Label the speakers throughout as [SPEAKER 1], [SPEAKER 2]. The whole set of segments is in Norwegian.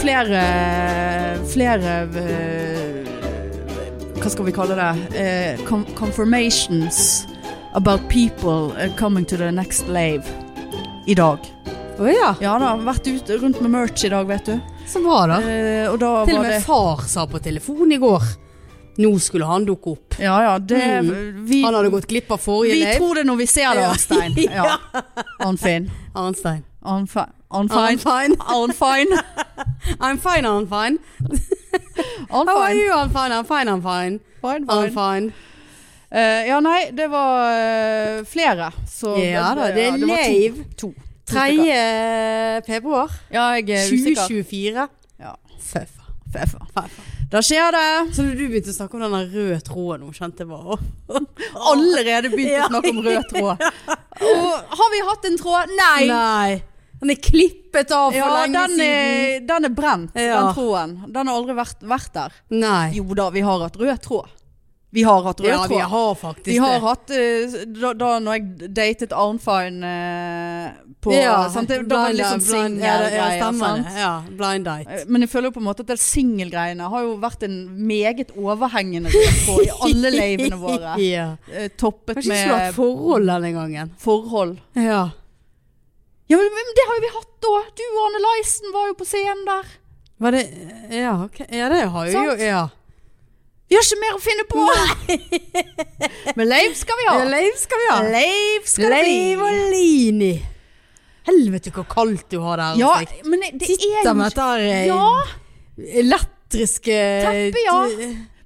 [SPEAKER 1] flere Flere eh, Hva skal vi kalle det? Eh, con- confirmations about people eh, coming to the next lave i dag.
[SPEAKER 2] Å ja.
[SPEAKER 1] Ja da, vært ute rundt med merch i dag, vet du.
[SPEAKER 2] Så bra, da.
[SPEAKER 1] Eh, og da
[SPEAKER 2] Til og
[SPEAKER 1] var
[SPEAKER 2] med
[SPEAKER 1] det
[SPEAKER 2] far sa på telefon i går Nå skulle han dukke opp.
[SPEAKER 1] Ja ja, det vi,
[SPEAKER 2] Mm. Han hadde gått glipp av forrige
[SPEAKER 1] vi
[SPEAKER 2] live.
[SPEAKER 1] tror det når vi ser det,
[SPEAKER 2] Ja.
[SPEAKER 1] Arnstein. Ja. Arnfinn.
[SPEAKER 2] Arnstein.
[SPEAKER 1] Arnfe- Arnfein.
[SPEAKER 2] I'm fine.
[SPEAKER 1] Arnfein.
[SPEAKER 2] I'm fine, I'm fine. How are
[SPEAKER 1] Arnfein.
[SPEAKER 2] you? I'm fine, I'm fine, I'm fine.
[SPEAKER 1] Fine,
[SPEAKER 2] I'm
[SPEAKER 1] fine.
[SPEAKER 2] fine.
[SPEAKER 1] Eh, ja, nei, det var eh, flere. Så
[SPEAKER 2] Ja da, det
[SPEAKER 1] eh, ja,
[SPEAKER 2] er
[SPEAKER 1] var to-
[SPEAKER 2] live.
[SPEAKER 1] To.
[SPEAKER 2] 3. februar
[SPEAKER 1] Ja, jeg er usikker.
[SPEAKER 2] 2024.
[SPEAKER 1] Ja.
[SPEAKER 2] Føffa.
[SPEAKER 1] Feffa.
[SPEAKER 2] Føffa.
[SPEAKER 1] Da skjer det.
[SPEAKER 2] Så da du begynte å snakke om den der røde tråden hun kjente jeg bare
[SPEAKER 1] Allerede begynt
[SPEAKER 2] Ja.
[SPEAKER 1] å snakke om rød tråd. Og har vi hatt en tråd? Nei.
[SPEAKER 2] Nei. Den er klippet av for
[SPEAKER 1] Ja,
[SPEAKER 2] lenge
[SPEAKER 1] den
[SPEAKER 2] siden.
[SPEAKER 1] er, den er brent,
[SPEAKER 2] Ja.
[SPEAKER 1] den tråden. Den har aldri vært, vært der.
[SPEAKER 2] Nei.
[SPEAKER 1] Jo da, vi har hatt rød tråd. Vi har hatt rød
[SPEAKER 2] Ja,
[SPEAKER 1] tråd.
[SPEAKER 2] vi har faktisk
[SPEAKER 1] Vi har
[SPEAKER 2] det.
[SPEAKER 1] hatt eh, da, da når jeg datet Arnfine eh, på
[SPEAKER 2] ja,
[SPEAKER 1] sant? Det, Da var det litt
[SPEAKER 2] blind-
[SPEAKER 1] sånn
[SPEAKER 2] blind- liksom ja, det- Ja,
[SPEAKER 1] singelgreier.
[SPEAKER 2] stemmer
[SPEAKER 1] sant?
[SPEAKER 2] det. Ja, blind date.
[SPEAKER 1] Eh, Men jeg føler jo på en måte at det singelgreiene har jo vært en meget overhengende rød tråd i alle lavene våre.
[SPEAKER 2] ja.
[SPEAKER 1] Eh, Toppet
[SPEAKER 2] Kanskje ikke skulle hatt
[SPEAKER 1] med
[SPEAKER 2] forhold denne gangen.
[SPEAKER 1] forhold.
[SPEAKER 2] Ja.
[SPEAKER 1] Ja, men, men det har jo vi hatt da! Du og Anne Leisen var jo på scenen der.
[SPEAKER 2] Var det Ja, ok. ja det har jo
[SPEAKER 1] Sant?
[SPEAKER 2] ja.
[SPEAKER 1] Vi har ikke mer å finne på! men lave skal vi ha.
[SPEAKER 2] Ja, Leiv skal vi ha.
[SPEAKER 1] Lave skal det
[SPEAKER 2] Leiv
[SPEAKER 1] bli.
[SPEAKER 2] og Lini. Helvete, hvor kaldt du har der.
[SPEAKER 1] Ja,
[SPEAKER 2] Ulrik.
[SPEAKER 1] men det er jo
[SPEAKER 2] Sitter med
[SPEAKER 1] ikke
[SPEAKER 2] dette her eh,
[SPEAKER 1] Ja!
[SPEAKER 2] elektriske
[SPEAKER 1] Teppe, ja.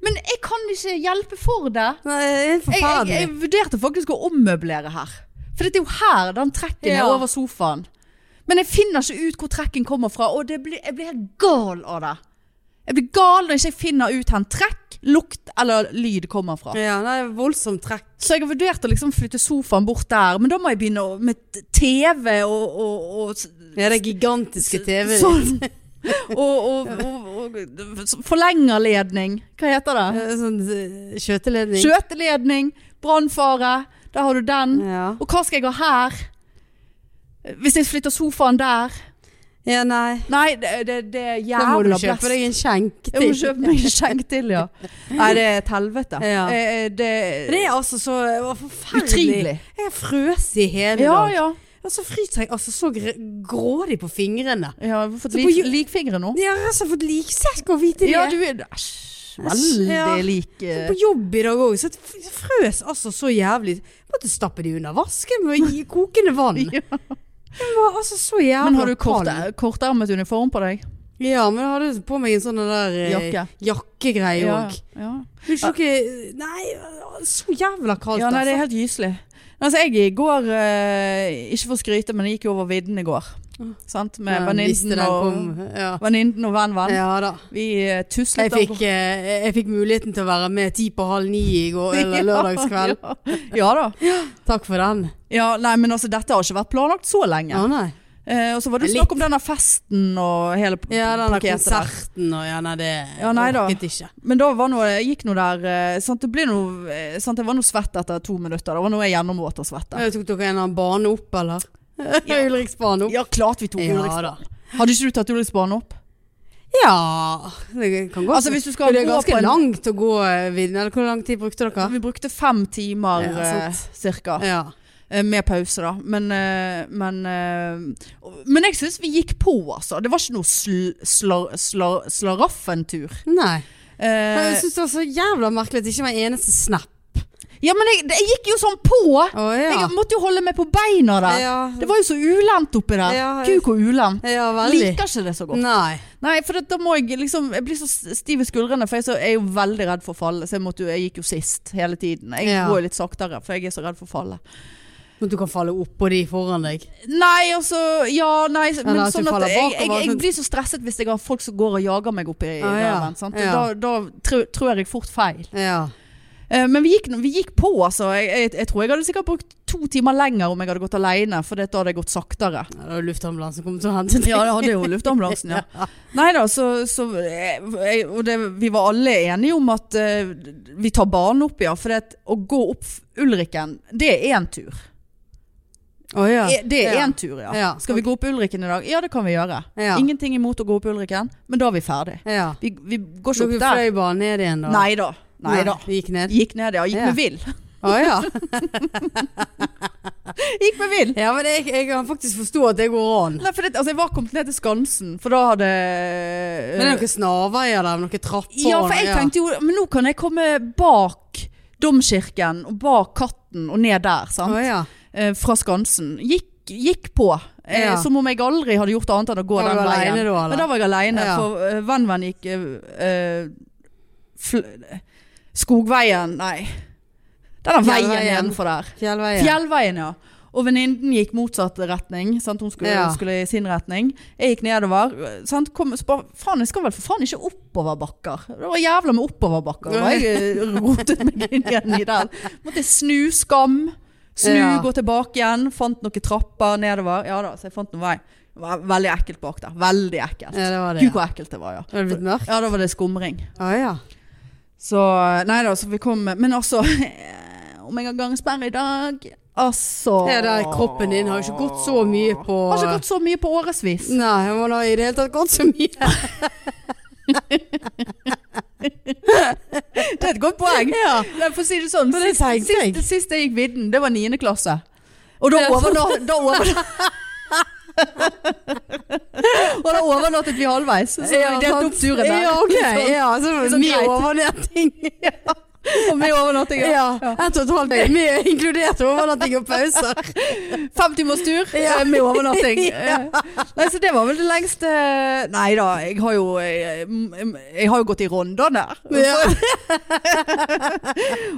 [SPEAKER 1] Men jeg kan ikke hjelpe for det.
[SPEAKER 2] Nei, det er helt
[SPEAKER 1] Jeg, jeg,
[SPEAKER 2] forferdelig.
[SPEAKER 1] jeg vurderte faktisk å ommøblere her. For det er jo her den trekken
[SPEAKER 2] Ja.
[SPEAKER 1] er over sofaen. Men jeg finner ikke ut hvor trekken kommer fra, og det blir, jeg blir helt gal av det. Jeg blir gal når jeg ikke finner ut hvor trekk, lukt eller lyd kommer fra.
[SPEAKER 2] Ja, det er voldsomt trekk.
[SPEAKER 1] Så jeg har vurdert å liksom flytte sofaen bort der, men da må jeg begynne å- med t- TV og, og, og s-
[SPEAKER 2] Ja, det er gigantiske TV.
[SPEAKER 1] sånn. Og, og, og, og, og forlengerledning. Hva heter det?
[SPEAKER 2] Eh, Sånn eh, skjøteledning.
[SPEAKER 1] Skjøteledning, brannfare, der har du den.
[SPEAKER 2] Ja.
[SPEAKER 1] Og hva skal jeg ha her? Hvis jeg flytter sofaen der?
[SPEAKER 2] ja, nei.
[SPEAKER 1] Nei, det, det, det er
[SPEAKER 2] Da må du
[SPEAKER 1] jævla
[SPEAKER 2] kjøpe
[SPEAKER 1] blest.
[SPEAKER 2] deg en skjenk
[SPEAKER 1] Jeg må
[SPEAKER 2] til.
[SPEAKER 1] kjøpe meg en skjenk til, ja. Nei, det er et helvete.
[SPEAKER 2] Ja.
[SPEAKER 1] Eh, eh, Det,
[SPEAKER 2] Det er altså så det var forferdelig.
[SPEAKER 1] utrivelig.
[SPEAKER 2] Jeg frøs i hele
[SPEAKER 1] Ja,
[SPEAKER 2] dag.
[SPEAKER 1] ja.
[SPEAKER 2] Og så fryser jeg altså så gr- grådig på fingrene.
[SPEAKER 1] ja jeg har fått
[SPEAKER 2] Så på
[SPEAKER 1] lik,
[SPEAKER 2] ju-
[SPEAKER 1] likfingre nå.
[SPEAKER 2] Jeg har altså fått liksekk og hvite
[SPEAKER 1] Ja,
[SPEAKER 2] det.
[SPEAKER 1] du er æsj, veldig
[SPEAKER 2] Ja.
[SPEAKER 1] lik eh.
[SPEAKER 2] På jobb i dag òg, så jeg frøs altså så jævlig. Jeg måtte stappe de under vasken med å gi kokende vann.
[SPEAKER 1] Ja.
[SPEAKER 2] Jeg var altså så jævla
[SPEAKER 1] Men har du kort,
[SPEAKER 2] kald.
[SPEAKER 1] kortermet uniform på deg?
[SPEAKER 2] Ja, men jeg hadde på meg en sånn der eh,
[SPEAKER 1] Jakke.
[SPEAKER 2] jakkegreie
[SPEAKER 1] Ja,
[SPEAKER 2] òg.
[SPEAKER 1] ja.
[SPEAKER 2] Ja. Nei, så jævla kaldt,
[SPEAKER 1] Ja, nei, det er
[SPEAKER 2] altså.
[SPEAKER 1] helt gyselig. Altså, jeg i går, eh, ikke for å skryte, men jeg gikk jo over vidden i går. Sant? Med
[SPEAKER 2] Ja, hvis
[SPEAKER 1] venninnen
[SPEAKER 2] det den
[SPEAKER 1] og,
[SPEAKER 2] kom. Ja.
[SPEAKER 1] venninnen og venn, venn.
[SPEAKER 2] ja da.
[SPEAKER 1] Vi eh, tuslet
[SPEAKER 2] Jeg fikk, eh, jeg fikk muligheten til å være med ti på halv ni i går, eh, eller lørdagskveld.
[SPEAKER 1] Ja, ja da.
[SPEAKER 2] Takk for den.
[SPEAKER 1] Ja, nei, men altså, dette har ikke vært planlagt så lenge.
[SPEAKER 2] Ja, nei.
[SPEAKER 1] Eh, og så var det jo
[SPEAKER 2] Litt.
[SPEAKER 1] snakk om denne festen og hele p-
[SPEAKER 2] Ja, den der
[SPEAKER 1] pakketet der.
[SPEAKER 2] konserten og ja, nei, det
[SPEAKER 1] Ja, nei da.
[SPEAKER 2] orket ikke.
[SPEAKER 1] Men da var noe, jeg gikk noe der, eh, sant, det ble noe, eh, sant, jeg var noe svett etter to minutter. Det var noe jeg gjennomvåt og svette.
[SPEAKER 2] Ja, Tok dere en annen bane opp, eller? Ulriksbane opp?
[SPEAKER 1] Ja, klart vi tok Ulriksbanen.
[SPEAKER 2] da.
[SPEAKER 1] Hadde ikke du tatt Ulriksbanen opp?
[SPEAKER 2] Ja, det kan gå.
[SPEAKER 1] Altså, hvis du skal
[SPEAKER 2] det er
[SPEAKER 1] gå på
[SPEAKER 2] ganske
[SPEAKER 1] en-
[SPEAKER 2] langt å gå eh, vidden. Eller hvor lang tid brukte dere?
[SPEAKER 1] Vi brukte fem timer
[SPEAKER 2] Ja, sant.
[SPEAKER 1] eh, cirka.
[SPEAKER 2] Ja.
[SPEAKER 1] Eh, Med pause, da. Men, eh, men, eh, men jeg syns vi gikk på, altså. Det var ikke noe sl slar slar slaraffentur.
[SPEAKER 2] Nei. altså- Men Jeg
[SPEAKER 1] Eh,
[SPEAKER 2] syns det var så jævla merkelig at det ikke var en eneste snap.
[SPEAKER 1] ja, men jeg, jeg gikk jo sånn på!
[SPEAKER 2] Å ja.
[SPEAKER 1] Jeg måtte jo holde meg på beina der.
[SPEAKER 2] ja.
[SPEAKER 1] Det var jo så ulendt oppi der.
[SPEAKER 2] Ja,
[SPEAKER 1] Gud, hvor ulendt.
[SPEAKER 2] ja, veldig. Mm.
[SPEAKER 1] Liker ikke det så godt.
[SPEAKER 2] Nei.
[SPEAKER 1] Nei, for det, da må jeg liksom Jeg blir så s- stiv i skuldrene, for jeg, så, jeg er jo veldig redd for å falle. Så jeg, måtte, jo- jeg gikk jo sist hele tiden. Jeg
[SPEAKER 2] Ja.
[SPEAKER 1] går jo litt saktere, for jeg er så redd for å falle.
[SPEAKER 2] Men du kan falle oppå de foran deg.
[SPEAKER 1] Nei, altså Ja, nei, men
[SPEAKER 2] Eller at du
[SPEAKER 1] sånn at
[SPEAKER 2] faller
[SPEAKER 1] jeg, jeg,
[SPEAKER 2] bakover,
[SPEAKER 1] jeg
[SPEAKER 2] sånn-
[SPEAKER 1] blir så stresset hvis jeg har folk som går og jager meg oppi
[SPEAKER 2] Ah, ja.
[SPEAKER 1] nerven. sant?
[SPEAKER 2] Ja.
[SPEAKER 1] Da, da trø- trør jeg fort feil.
[SPEAKER 2] Ja.
[SPEAKER 1] Eh, men vi gikk, vi gikk på, altså. Jeg, jeg, jeg tror jeg hadde sikkert brukt to timer lenger om jeg hadde gått alene, for det, da hadde jeg gått saktere.
[SPEAKER 2] Ja, Det var luftambulansen som kom til å hente deg.
[SPEAKER 1] Ja, det hadde jo luftambulansen, ja. Nei da, så, så jeg, jeg- Og det, vi var alle enige om at eh, vi tar banen opp, ja. For det, at å gå opp Ulriken, det er én tur.
[SPEAKER 2] Å ja.
[SPEAKER 1] Eh, Det er
[SPEAKER 2] Ja.
[SPEAKER 1] én tur, ja.
[SPEAKER 2] Ja.
[SPEAKER 1] Skal vi gå opp Ulriken i dag? Ja, det kan vi gjøre.
[SPEAKER 2] Ja.
[SPEAKER 1] Ingenting imot å gå opp Ulriken, men da er vi ferdig.
[SPEAKER 2] ja.
[SPEAKER 1] Vi, vi går ikke
[SPEAKER 2] Dere
[SPEAKER 1] opp der.
[SPEAKER 2] fløy bare ned igjen da?
[SPEAKER 1] Nei da. Nei da.
[SPEAKER 2] Vi gikk ned?
[SPEAKER 1] Gikk ned, ja. Gikk
[SPEAKER 2] Ja.
[SPEAKER 1] med vill.
[SPEAKER 2] Å ja.
[SPEAKER 1] Gikk med vill.
[SPEAKER 2] ja, men jeg, jeg kan faktisk forstå at det går an.
[SPEAKER 1] Nei, for det, altså, jeg var kommet ned til Skansen, for da hadde eh,
[SPEAKER 2] Men det er sånn, noen snarveier der, noen trapper
[SPEAKER 1] Ja, for jeg
[SPEAKER 2] og-
[SPEAKER 1] tenkte jo Men nå kan jeg komme bak domkirken og bak Katten og ned der, sant?
[SPEAKER 2] Å ja.
[SPEAKER 1] Eh, fra Skansen. Gikk, gikk på. Eh,
[SPEAKER 2] Ja.
[SPEAKER 1] Som om jeg aldri hadde gjort annet enn å gå
[SPEAKER 2] Var
[SPEAKER 1] den
[SPEAKER 2] du
[SPEAKER 1] veien.
[SPEAKER 2] alene da, eller?
[SPEAKER 1] Men da var jeg alene,
[SPEAKER 2] Ja.
[SPEAKER 1] for eh, Venn-Venn gikk eh, eh, fl Skogveien, nei. Denne veien
[SPEAKER 2] Fjellveien.
[SPEAKER 1] nedenfor der.
[SPEAKER 2] Fjellveien.
[SPEAKER 1] Fjellveien, ja. Og venninnen gikk motsatt retning. Sant? Hun skulle,
[SPEAKER 2] Ja.
[SPEAKER 1] skulle i sin retning. Jeg gikk nedover. Sant? Kom, så bare, faen, jeg skal vel for faen ikke oppoverbakker. Det var jævla med oppoverbakker. Og jeg eh, rotet meg inn igjen i den. Måtte jeg snu skam. Snu,
[SPEAKER 2] Ja.
[SPEAKER 1] gå tilbake igjen. Fant noen trapper nedover. Ja da, så jeg fant noen vei. Det var Veldig ekkelt bak der. Veldig ekkelt.
[SPEAKER 2] Ja, det var det.
[SPEAKER 1] Gud,
[SPEAKER 2] ja.
[SPEAKER 1] hvor ekkelt det var, ja.
[SPEAKER 2] Var det blitt mørkt?
[SPEAKER 1] Ja, da var det skumring.
[SPEAKER 2] Å ja.
[SPEAKER 1] Så nei da, så vi kom Men altså Om jeg har gangsperre i dag Altså
[SPEAKER 2] Ja, der, kroppen din har jo ikke gått så mye på
[SPEAKER 1] Har ikke gått så mye på årevis.
[SPEAKER 2] Nei, man har i det hele tatt gått så mye.
[SPEAKER 1] Det er et godt poeng.
[SPEAKER 2] Ja.
[SPEAKER 1] Nei, For å si det sånn,
[SPEAKER 2] Men det
[SPEAKER 1] sist,
[SPEAKER 2] tenkte jeg.
[SPEAKER 1] sist, sist jeg gikk vidden, det var 9. klasse. Og da,
[SPEAKER 2] Ja.
[SPEAKER 1] overnatt, da, overnatt, og da overnattet vi halvveis. Så vi delte opp turen der.
[SPEAKER 2] Ja, ok. Ja, så
[SPEAKER 1] Sånn
[SPEAKER 2] mye
[SPEAKER 1] greit.
[SPEAKER 2] overnatting.
[SPEAKER 1] Og med overnatting. ja.
[SPEAKER 2] Ja. Ett og et halvt døgn. Mye inkludert overnatting og pauser.
[SPEAKER 1] Fem timers tur
[SPEAKER 2] Ja.
[SPEAKER 1] eh, med overnatting.
[SPEAKER 2] Ja.
[SPEAKER 1] Eh, Nei, så det var vel det lengste Nei da, jeg har jo eh, mm, Jeg har jo gått i ronder der.
[SPEAKER 2] Ja.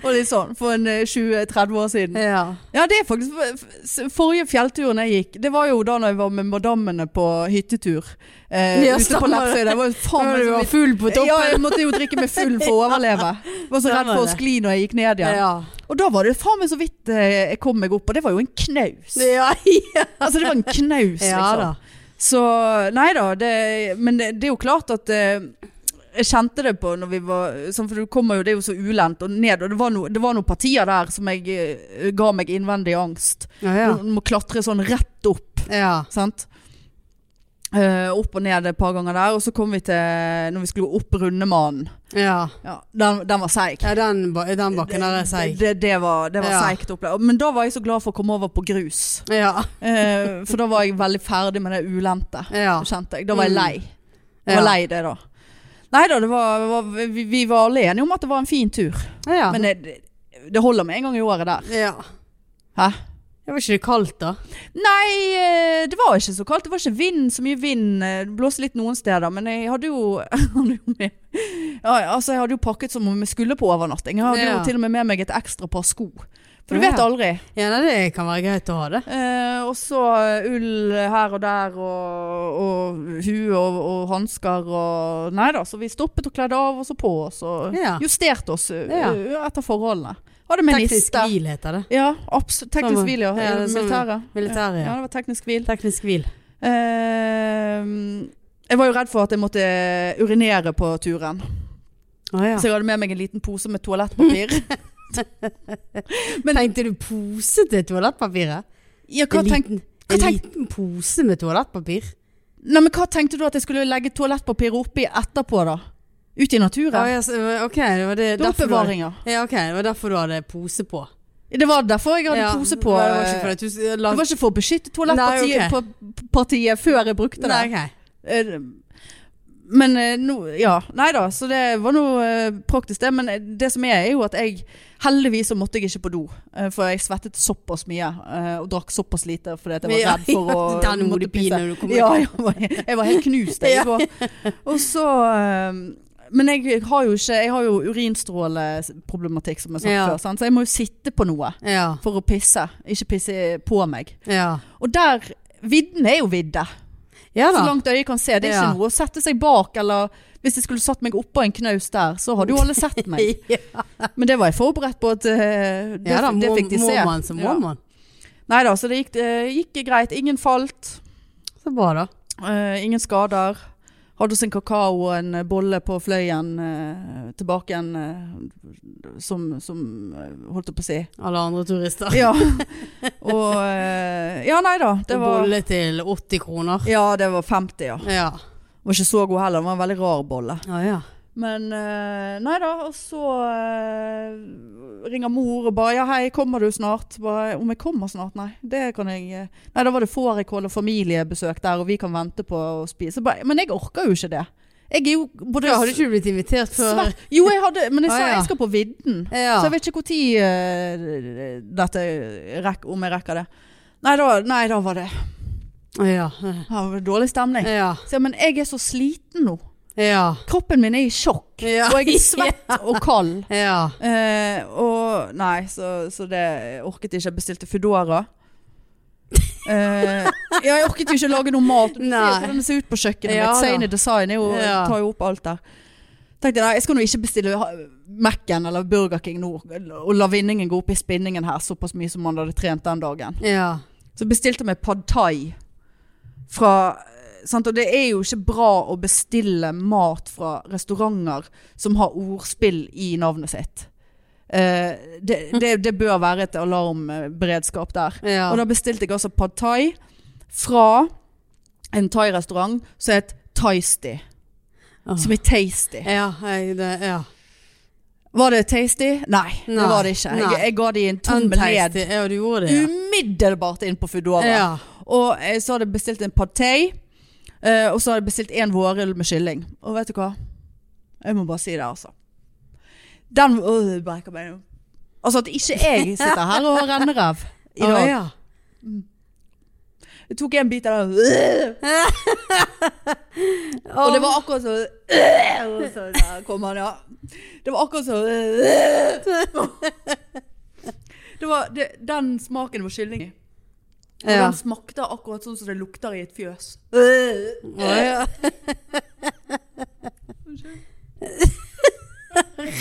[SPEAKER 1] Og litt sånn for en eh, 20-30 år siden.
[SPEAKER 2] ja.
[SPEAKER 1] Ja, det er faktisk f- Forrige fjellturen jeg gikk, det var jo da når jeg var med madammene på hyttetur. Eh,
[SPEAKER 2] Ja,
[SPEAKER 1] ute på
[SPEAKER 2] stemmer
[SPEAKER 1] Lepsøy. Det var jo faen
[SPEAKER 2] Men
[SPEAKER 1] meg
[SPEAKER 2] du
[SPEAKER 1] så
[SPEAKER 2] var
[SPEAKER 1] vidt-
[SPEAKER 2] full på
[SPEAKER 1] Ja,
[SPEAKER 2] toppen.
[SPEAKER 1] jeg måtte jo drikke meg full for å overleve. Var så redd for å skli når jeg gikk ned igjen.
[SPEAKER 2] Ja.
[SPEAKER 1] Og da var det faen meg så vidt eh, jeg kom meg opp, og det var jo en knaus.
[SPEAKER 2] Ja,
[SPEAKER 1] Altså det var en knaus,
[SPEAKER 2] ja
[SPEAKER 1] liksom.
[SPEAKER 2] da.
[SPEAKER 1] Så nei da, det, men det, det er jo klart at eh, jeg kjente det på når vi var sånn, For du kommer jo, det er jo så ulendt og ned. Og det var, no, det var noen partier der som jeg eh, ga meg innvendig angst.
[SPEAKER 2] Ja, ja.
[SPEAKER 1] Du må klatre sånn rett opp,
[SPEAKER 2] ja.
[SPEAKER 1] sant. Eh, opp og ned et par ganger der. Og så kom vi til Når vi skulle gå opp Rundemannen.
[SPEAKER 2] ja.
[SPEAKER 1] Ja, den, den var seig.
[SPEAKER 2] ja den, ba- den bakken der er seig.
[SPEAKER 1] Det, det var, det var
[SPEAKER 2] Ja.
[SPEAKER 1] seigt opplevd. Men da var jeg så glad for å komme over på grus.
[SPEAKER 2] Ja.
[SPEAKER 1] Eh, for da var jeg veldig ferdig med det ulendte.
[SPEAKER 2] Ja. Mm.
[SPEAKER 1] Kjente jeg. Da var jeg lei. Jeg
[SPEAKER 2] Ja.
[SPEAKER 1] var lei det, da. Nei da, det var, det var, vi, vi var alle enige om at det var en fin tur.
[SPEAKER 2] Ja.
[SPEAKER 1] Men det, det holder med en gang i året der.
[SPEAKER 2] ja.
[SPEAKER 1] Hæ?
[SPEAKER 2] Det var ikke det kaldt da?
[SPEAKER 1] Nei, eh, det var ikke så kaldt. Det var ikke vind, så mye vind. Eh, Det blåste litt noen steder, men jeg hadde jo, jeg hadde jo med ja, altså, Jeg hadde jo pakket som om jeg skulle på overnatting. Jeg hadde jo
[SPEAKER 2] Ja.
[SPEAKER 1] til og med med meg et ekstra par sko. For du
[SPEAKER 2] Ja.
[SPEAKER 1] vet aldri.
[SPEAKER 2] Ja, nei, det kan være greit å ha det.
[SPEAKER 1] Eh, og så eh, ull her og der, og, og hue og, og hansker og Nei da, så vi stoppet og kledde av oss og på oss, og
[SPEAKER 2] Ja.
[SPEAKER 1] justerte oss eh,
[SPEAKER 2] Ja.
[SPEAKER 1] eh, etter forholdene. Hadde med
[SPEAKER 2] Teknisk
[SPEAKER 1] niste.
[SPEAKER 2] hvil heter det.
[SPEAKER 1] Ja, absolutt. Teknisk
[SPEAKER 2] Sånn,
[SPEAKER 1] hvil, ja.
[SPEAKER 2] ja,
[SPEAKER 1] I
[SPEAKER 2] det er sånn-
[SPEAKER 1] militæret.
[SPEAKER 2] militæret, ja.
[SPEAKER 1] ja. det var teknisk hvil.
[SPEAKER 2] Teknisk hvil.
[SPEAKER 1] Eh, jeg var jo redd for at jeg måtte urinere på turen,
[SPEAKER 2] Å ja.
[SPEAKER 1] så jeg hadde med meg en liten pose med toalettpapir.
[SPEAKER 2] Men tenkte du pose til toalettpapiret?
[SPEAKER 1] ja, hva
[SPEAKER 2] en
[SPEAKER 1] tenk,
[SPEAKER 2] liten,
[SPEAKER 1] hva
[SPEAKER 2] en
[SPEAKER 1] tenk-
[SPEAKER 2] liten pose med toalettpapir?
[SPEAKER 1] nei, men hva tenkte du at jeg skulle legge toalettpapiret oppi etterpå, da? Ute i naturen?
[SPEAKER 2] Ja, ja, så- ok, det var det,
[SPEAKER 1] Det er
[SPEAKER 2] derfor du hadde,
[SPEAKER 1] Oppbevaringer.
[SPEAKER 2] ja, ok, det var derfor du hadde pose på.
[SPEAKER 1] Det var derfor jeg hadde
[SPEAKER 2] ja,
[SPEAKER 1] pose på. eh,
[SPEAKER 2] Det var ikke for at du s- la-
[SPEAKER 1] Det var ikke for å beskytte toalettpartiet
[SPEAKER 2] Nei, ok.
[SPEAKER 1] pa- partiet før jeg brukte det.
[SPEAKER 2] Nei, ok.
[SPEAKER 1] Eh, Men eh, nå Ja, nei da. Så det var nå eh, praktisk, det. Men eh, det som er, er jo at jeg Heldigvis så måtte jeg ikke på do. eh, For jeg svettet såpass mye eh, og drakk såpass lite fordi at jeg var
[SPEAKER 2] Ja,
[SPEAKER 1] redd for å
[SPEAKER 2] ja, den
[SPEAKER 1] måtte
[SPEAKER 2] hodepinen
[SPEAKER 1] pisse.
[SPEAKER 2] når du kom
[SPEAKER 1] Ja,
[SPEAKER 2] ut.
[SPEAKER 1] jeg var, jeg var helt knust jeg, i går. Og så eh, Men jeg har jo ikke Jeg har jo urinstråleproblematikk, som jeg sa
[SPEAKER 2] Ja.
[SPEAKER 1] før. Sant? Så jeg må jo sitte på noe
[SPEAKER 2] Ja,
[SPEAKER 1] for å pisse. Ikke pisse på meg.
[SPEAKER 2] ja.
[SPEAKER 1] Og der Vidden er jo vidde.
[SPEAKER 2] Ja
[SPEAKER 1] Så
[SPEAKER 2] da.
[SPEAKER 1] langt øyet kan se. Det er
[SPEAKER 2] Ja.
[SPEAKER 1] ikke noe å sette seg bak, eller hvis jeg skulle satt meg oppå en knaus der, så hadde jo alle sett meg. Men det var jeg forberedt på at eh, det,
[SPEAKER 2] Ja da,
[SPEAKER 1] det
[SPEAKER 2] må,
[SPEAKER 1] fikk de se.
[SPEAKER 2] må man, så må man.
[SPEAKER 1] Nei da, så det eh, gikk, det gikk greit. Ingen falt.
[SPEAKER 2] Så bra da.
[SPEAKER 1] eh, ingen skader. Hadde oss en kakao og en eh, bolle på fløyen eh, tilbake igjen eh, som, som eh, Holdt jeg på å si.
[SPEAKER 2] Alle andre turister.
[SPEAKER 1] Ja. Og eh, Ja, nei da. Det var,
[SPEAKER 2] Bolle til 80 kroner.
[SPEAKER 1] ja, det var 50, ja.
[SPEAKER 2] Ja.
[SPEAKER 1] Var ikke så god heller. Det var en veldig rar bolle.
[SPEAKER 2] Ja, ja.
[SPEAKER 1] Men eh, nei da, og så eh, ringer mor og bare 'ja, hei, kommer du snart?' Bare, Om jeg kommer snart? Nei, det kan jeg eh, Nei, da var det fårikål og familiebesøk der, og vi kan vente på å spise. Bare, men jeg orker jo ikke det. Jeg er jo både
[SPEAKER 2] Da har du ikke blitt invitert før.
[SPEAKER 1] svært Jo, jeg hadde Men jeg
[SPEAKER 2] Ah,
[SPEAKER 1] sa
[SPEAKER 2] ja.
[SPEAKER 1] jeg skal på vidden.
[SPEAKER 2] Ja.
[SPEAKER 1] Så jeg vet ikke når dette rekk, Om jeg rekker det. Nei da, nei, da var det,
[SPEAKER 2] Ja.
[SPEAKER 1] da var det dårlig stemning.
[SPEAKER 2] Ja.
[SPEAKER 1] Så, jeg, men jeg er så sliten nå.
[SPEAKER 2] Ja.
[SPEAKER 1] Kroppen min er i sjokk.
[SPEAKER 2] Ja.
[SPEAKER 1] Og jeg er svett og kald.
[SPEAKER 2] Ja.
[SPEAKER 1] Eh, og nei, så, så det orket jeg ikke. Jeg bestilte Foodora. Eh, ja, jeg orket jo ikke lage noe mat. Du ser jo
[SPEAKER 2] Nei.
[SPEAKER 1] hvordan det ser ut på kjøkkenet
[SPEAKER 2] Ja
[SPEAKER 1] mitt.
[SPEAKER 2] da.
[SPEAKER 1] Sane design er jo,
[SPEAKER 2] Ja.
[SPEAKER 1] tar jo opp alt der. Tenkte jeg, nei, jeg skal nå ikke bestille ha- Mac-en eller Burger King nå, og la vinningen gå opp i spinningen her såpass mye som man hadde trent den dagen.
[SPEAKER 2] Ja.
[SPEAKER 1] Så bestilte jeg meg pad thai fra sant? Og det er jo ikke bra å bestille mat fra restauranter som har ordspill i navnet sitt. Eh, det, det, det bør være et alarmberedskap der.
[SPEAKER 2] Ja.
[SPEAKER 1] Og da bestilte jeg altså pad thai fra en thai-restaurant som het Tasty.
[SPEAKER 2] Åh.
[SPEAKER 1] Som er tasty.
[SPEAKER 2] Ja. jeg- det- ja.
[SPEAKER 1] Var det tasty? Nei,
[SPEAKER 2] Nei.
[SPEAKER 1] det var det ikke. Jeg,
[SPEAKER 2] Nei.
[SPEAKER 1] jeg ga de en tommel ned
[SPEAKER 2] Untasty. Ja, du gjorde det.
[SPEAKER 1] umiddelbart inn på Foodora.
[SPEAKER 2] Ja.
[SPEAKER 1] Og eh, så hadde jeg bestilt en pad thai. eh, og så hadde jeg bestilt en vårrull med kylling. Og vet du hva? Jeg må bare si det, altså. Den øh, det brekker meg nå. Altså at ikke jeg sitter her og har rennerev i
[SPEAKER 2] Å,
[SPEAKER 1] dag.
[SPEAKER 2] ja.
[SPEAKER 1] Jeg tok en bit av den, øh, og det var akkurat så øh, og så Der kom han, ja. Det var akkurat så øh. Det var det, den smaken var kylling i. Og
[SPEAKER 2] Ja.
[SPEAKER 1] den smakte akkurat sånn som det lukter i et fjøs.
[SPEAKER 2] Å, ja.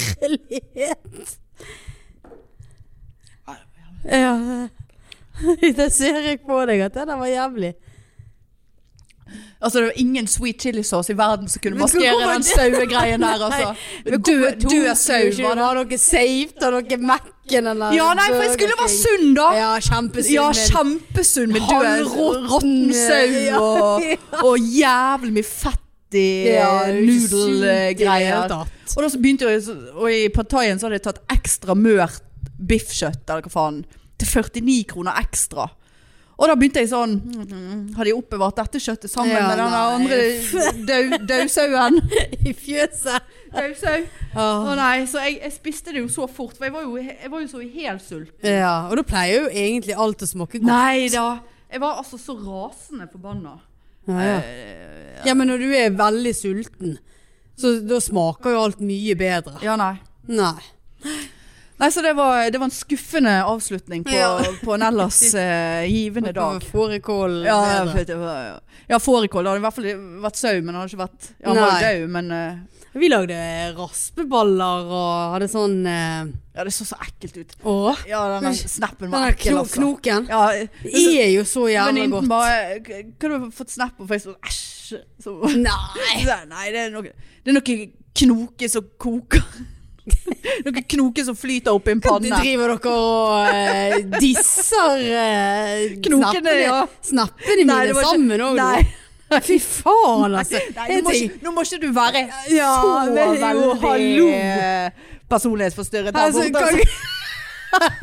[SPEAKER 2] Herlighet. Ja. Det ser jeg på deg at det der var jævlig.
[SPEAKER 1] Altså det var ingen sweet chili sauce i verden som kunne
[SPEAKER 2] Men
[SPEAKER 1] maskere
[SPEAKER 2] hvorfor
[SPEAKER 1] den
[SPEAKER 2] det?
[SPEAKER 1] sauegreien der, altså. Død, død sau var det.
[SPEAKER 2] Var dere safe da dere Mac-en eller
[SPEAKER 1] Ja, nei, for jeg skulle være sunn, da.
[SPEAKER 2] Ja, kjempesunn.
[SPEAKER 1] Ja, kjempesunn med død
[SPEAKER 2] Halvråtten,
[SPEAKER 1] råtten
[SPEAKER 2] ja.
[SPEAKER 1] sau og, og jævlig mye fett i eh, nudelgreier. Og da så begynte jeg, så- og i partaien så hadde jeg tatt ekstra mørt biffkjøtt, eller hva faen, til 49 kroner ekstra. Og da begynte jeg sånn, mm, har de oppbevart dette kjøttet sammen
[SPEAKER 2] Ja,
[SPEAKER 1] med den
[SPEAKER 2] nei.
[SPEAKER 1] andre dau- dausauen?
[SPEAKER 2] I fjøset.
[SPEAKER 1] Dausau. Å
[SPEAKER 2] Ja.
[SPEAKER 1] nei, så jeg, jeg spiste det jo så fort, for jeg var jo, jeg var jo så i helsult.
[SPEAKER 2] ja, og da pleier jo egentlig alt å smake godt.
[SPEAKER 1] Nei da. Jeg var altså så rasende forbanna.
[SPEAKER 2] Ja, ja.
[SPEAKER 1] Eh,
[SPEAKER 2] ja, men når du er veldig sulten, så da smaker jo alt mye bedre.
[SPEAKER 1] Ja, nei.
[SPEAKER 2] Nei.
[SPEAKER 1] Nei, så det var, det var en skuffende avslutning på,
[SPEAKER 2] Ja.
[SPEAKER 1] på en ellers eh, givende dag.
[SPEAKER 2] Fårikål
[SPEAKER 1] Ja, ja,
[SPEAKER 2] bedre.
[SPEAKER 1] for det var- ja fårikål. Det hadde i hvert fall vært sau, men det hadde ikke vært Ja, han var jo
[SPEAKER 2] Nei.
[SPEAKER 1] død, men eh,
[SPEAKER 2] Vi lagde raspeballer og hadde sånn eh,
[SPEAKER 1] Ja, det så så ekkelt ut.
[SPEAKER 2] Åh,
[SPEAKER 1] Ja, denne snappen
[SPEAKER 2] den
[SPEAKER 1] var
[SPEAKER 2] der
[SPEAKER 1] ekkel,
[SPEAKER 2] kno
[SPEAKER 1] altså.
[SPEAKER 2] knoken.
[SPEAKER 1] Ja,
[SPEAKER 2] Det er jo så jævla
[SPEAKER 1] Venninnen
[SPEAKER 2] godt.
[SPEAKER 1] bare eh, "K- Kunne du fått snap på Facebook? Æsj. Så
[SPEAKER 2] Nei!
[SPEAKER 1] Så, nei, det er noe, det er noe knoke som koker. noe knoke som flyter opp i en panne.
[SPEAKER 2] Driver dere og eh, disser eh,
[SPEAKER 1] Knokene,
[SPEAKER 2] snappene,
[SPEAKER 1] ja.
[SPEAKER 2] snappene mine
[SPEAKER 1] Nei, det var ikke-
[SPEAKER 2] sammen òg?
[SPEAKER 1] Nei.
[SPEAKER 2] Fy faen, altså.
[SPEAKER 1] Nei,
[SPEAKER 2] En
[SPEAKER 1] nå, må
[SPEAKER 2] ting-
[SPEAKER 1] ikke, nå må ikke du være
[SPEAKER 2] Ja,
[SPEAKER 1] så
[SPEAKER 2] men jo,
[SPEAKER 1] veldig
[SPEAKER 2] hallo.
[SPEAKER 1] eh, personlighetsforstyrret. der
[SPEAKER 2] Altså,
[SPEAKER 1] borte,
[SPEAKER 2] kan,
[SPEAKER 1] altså.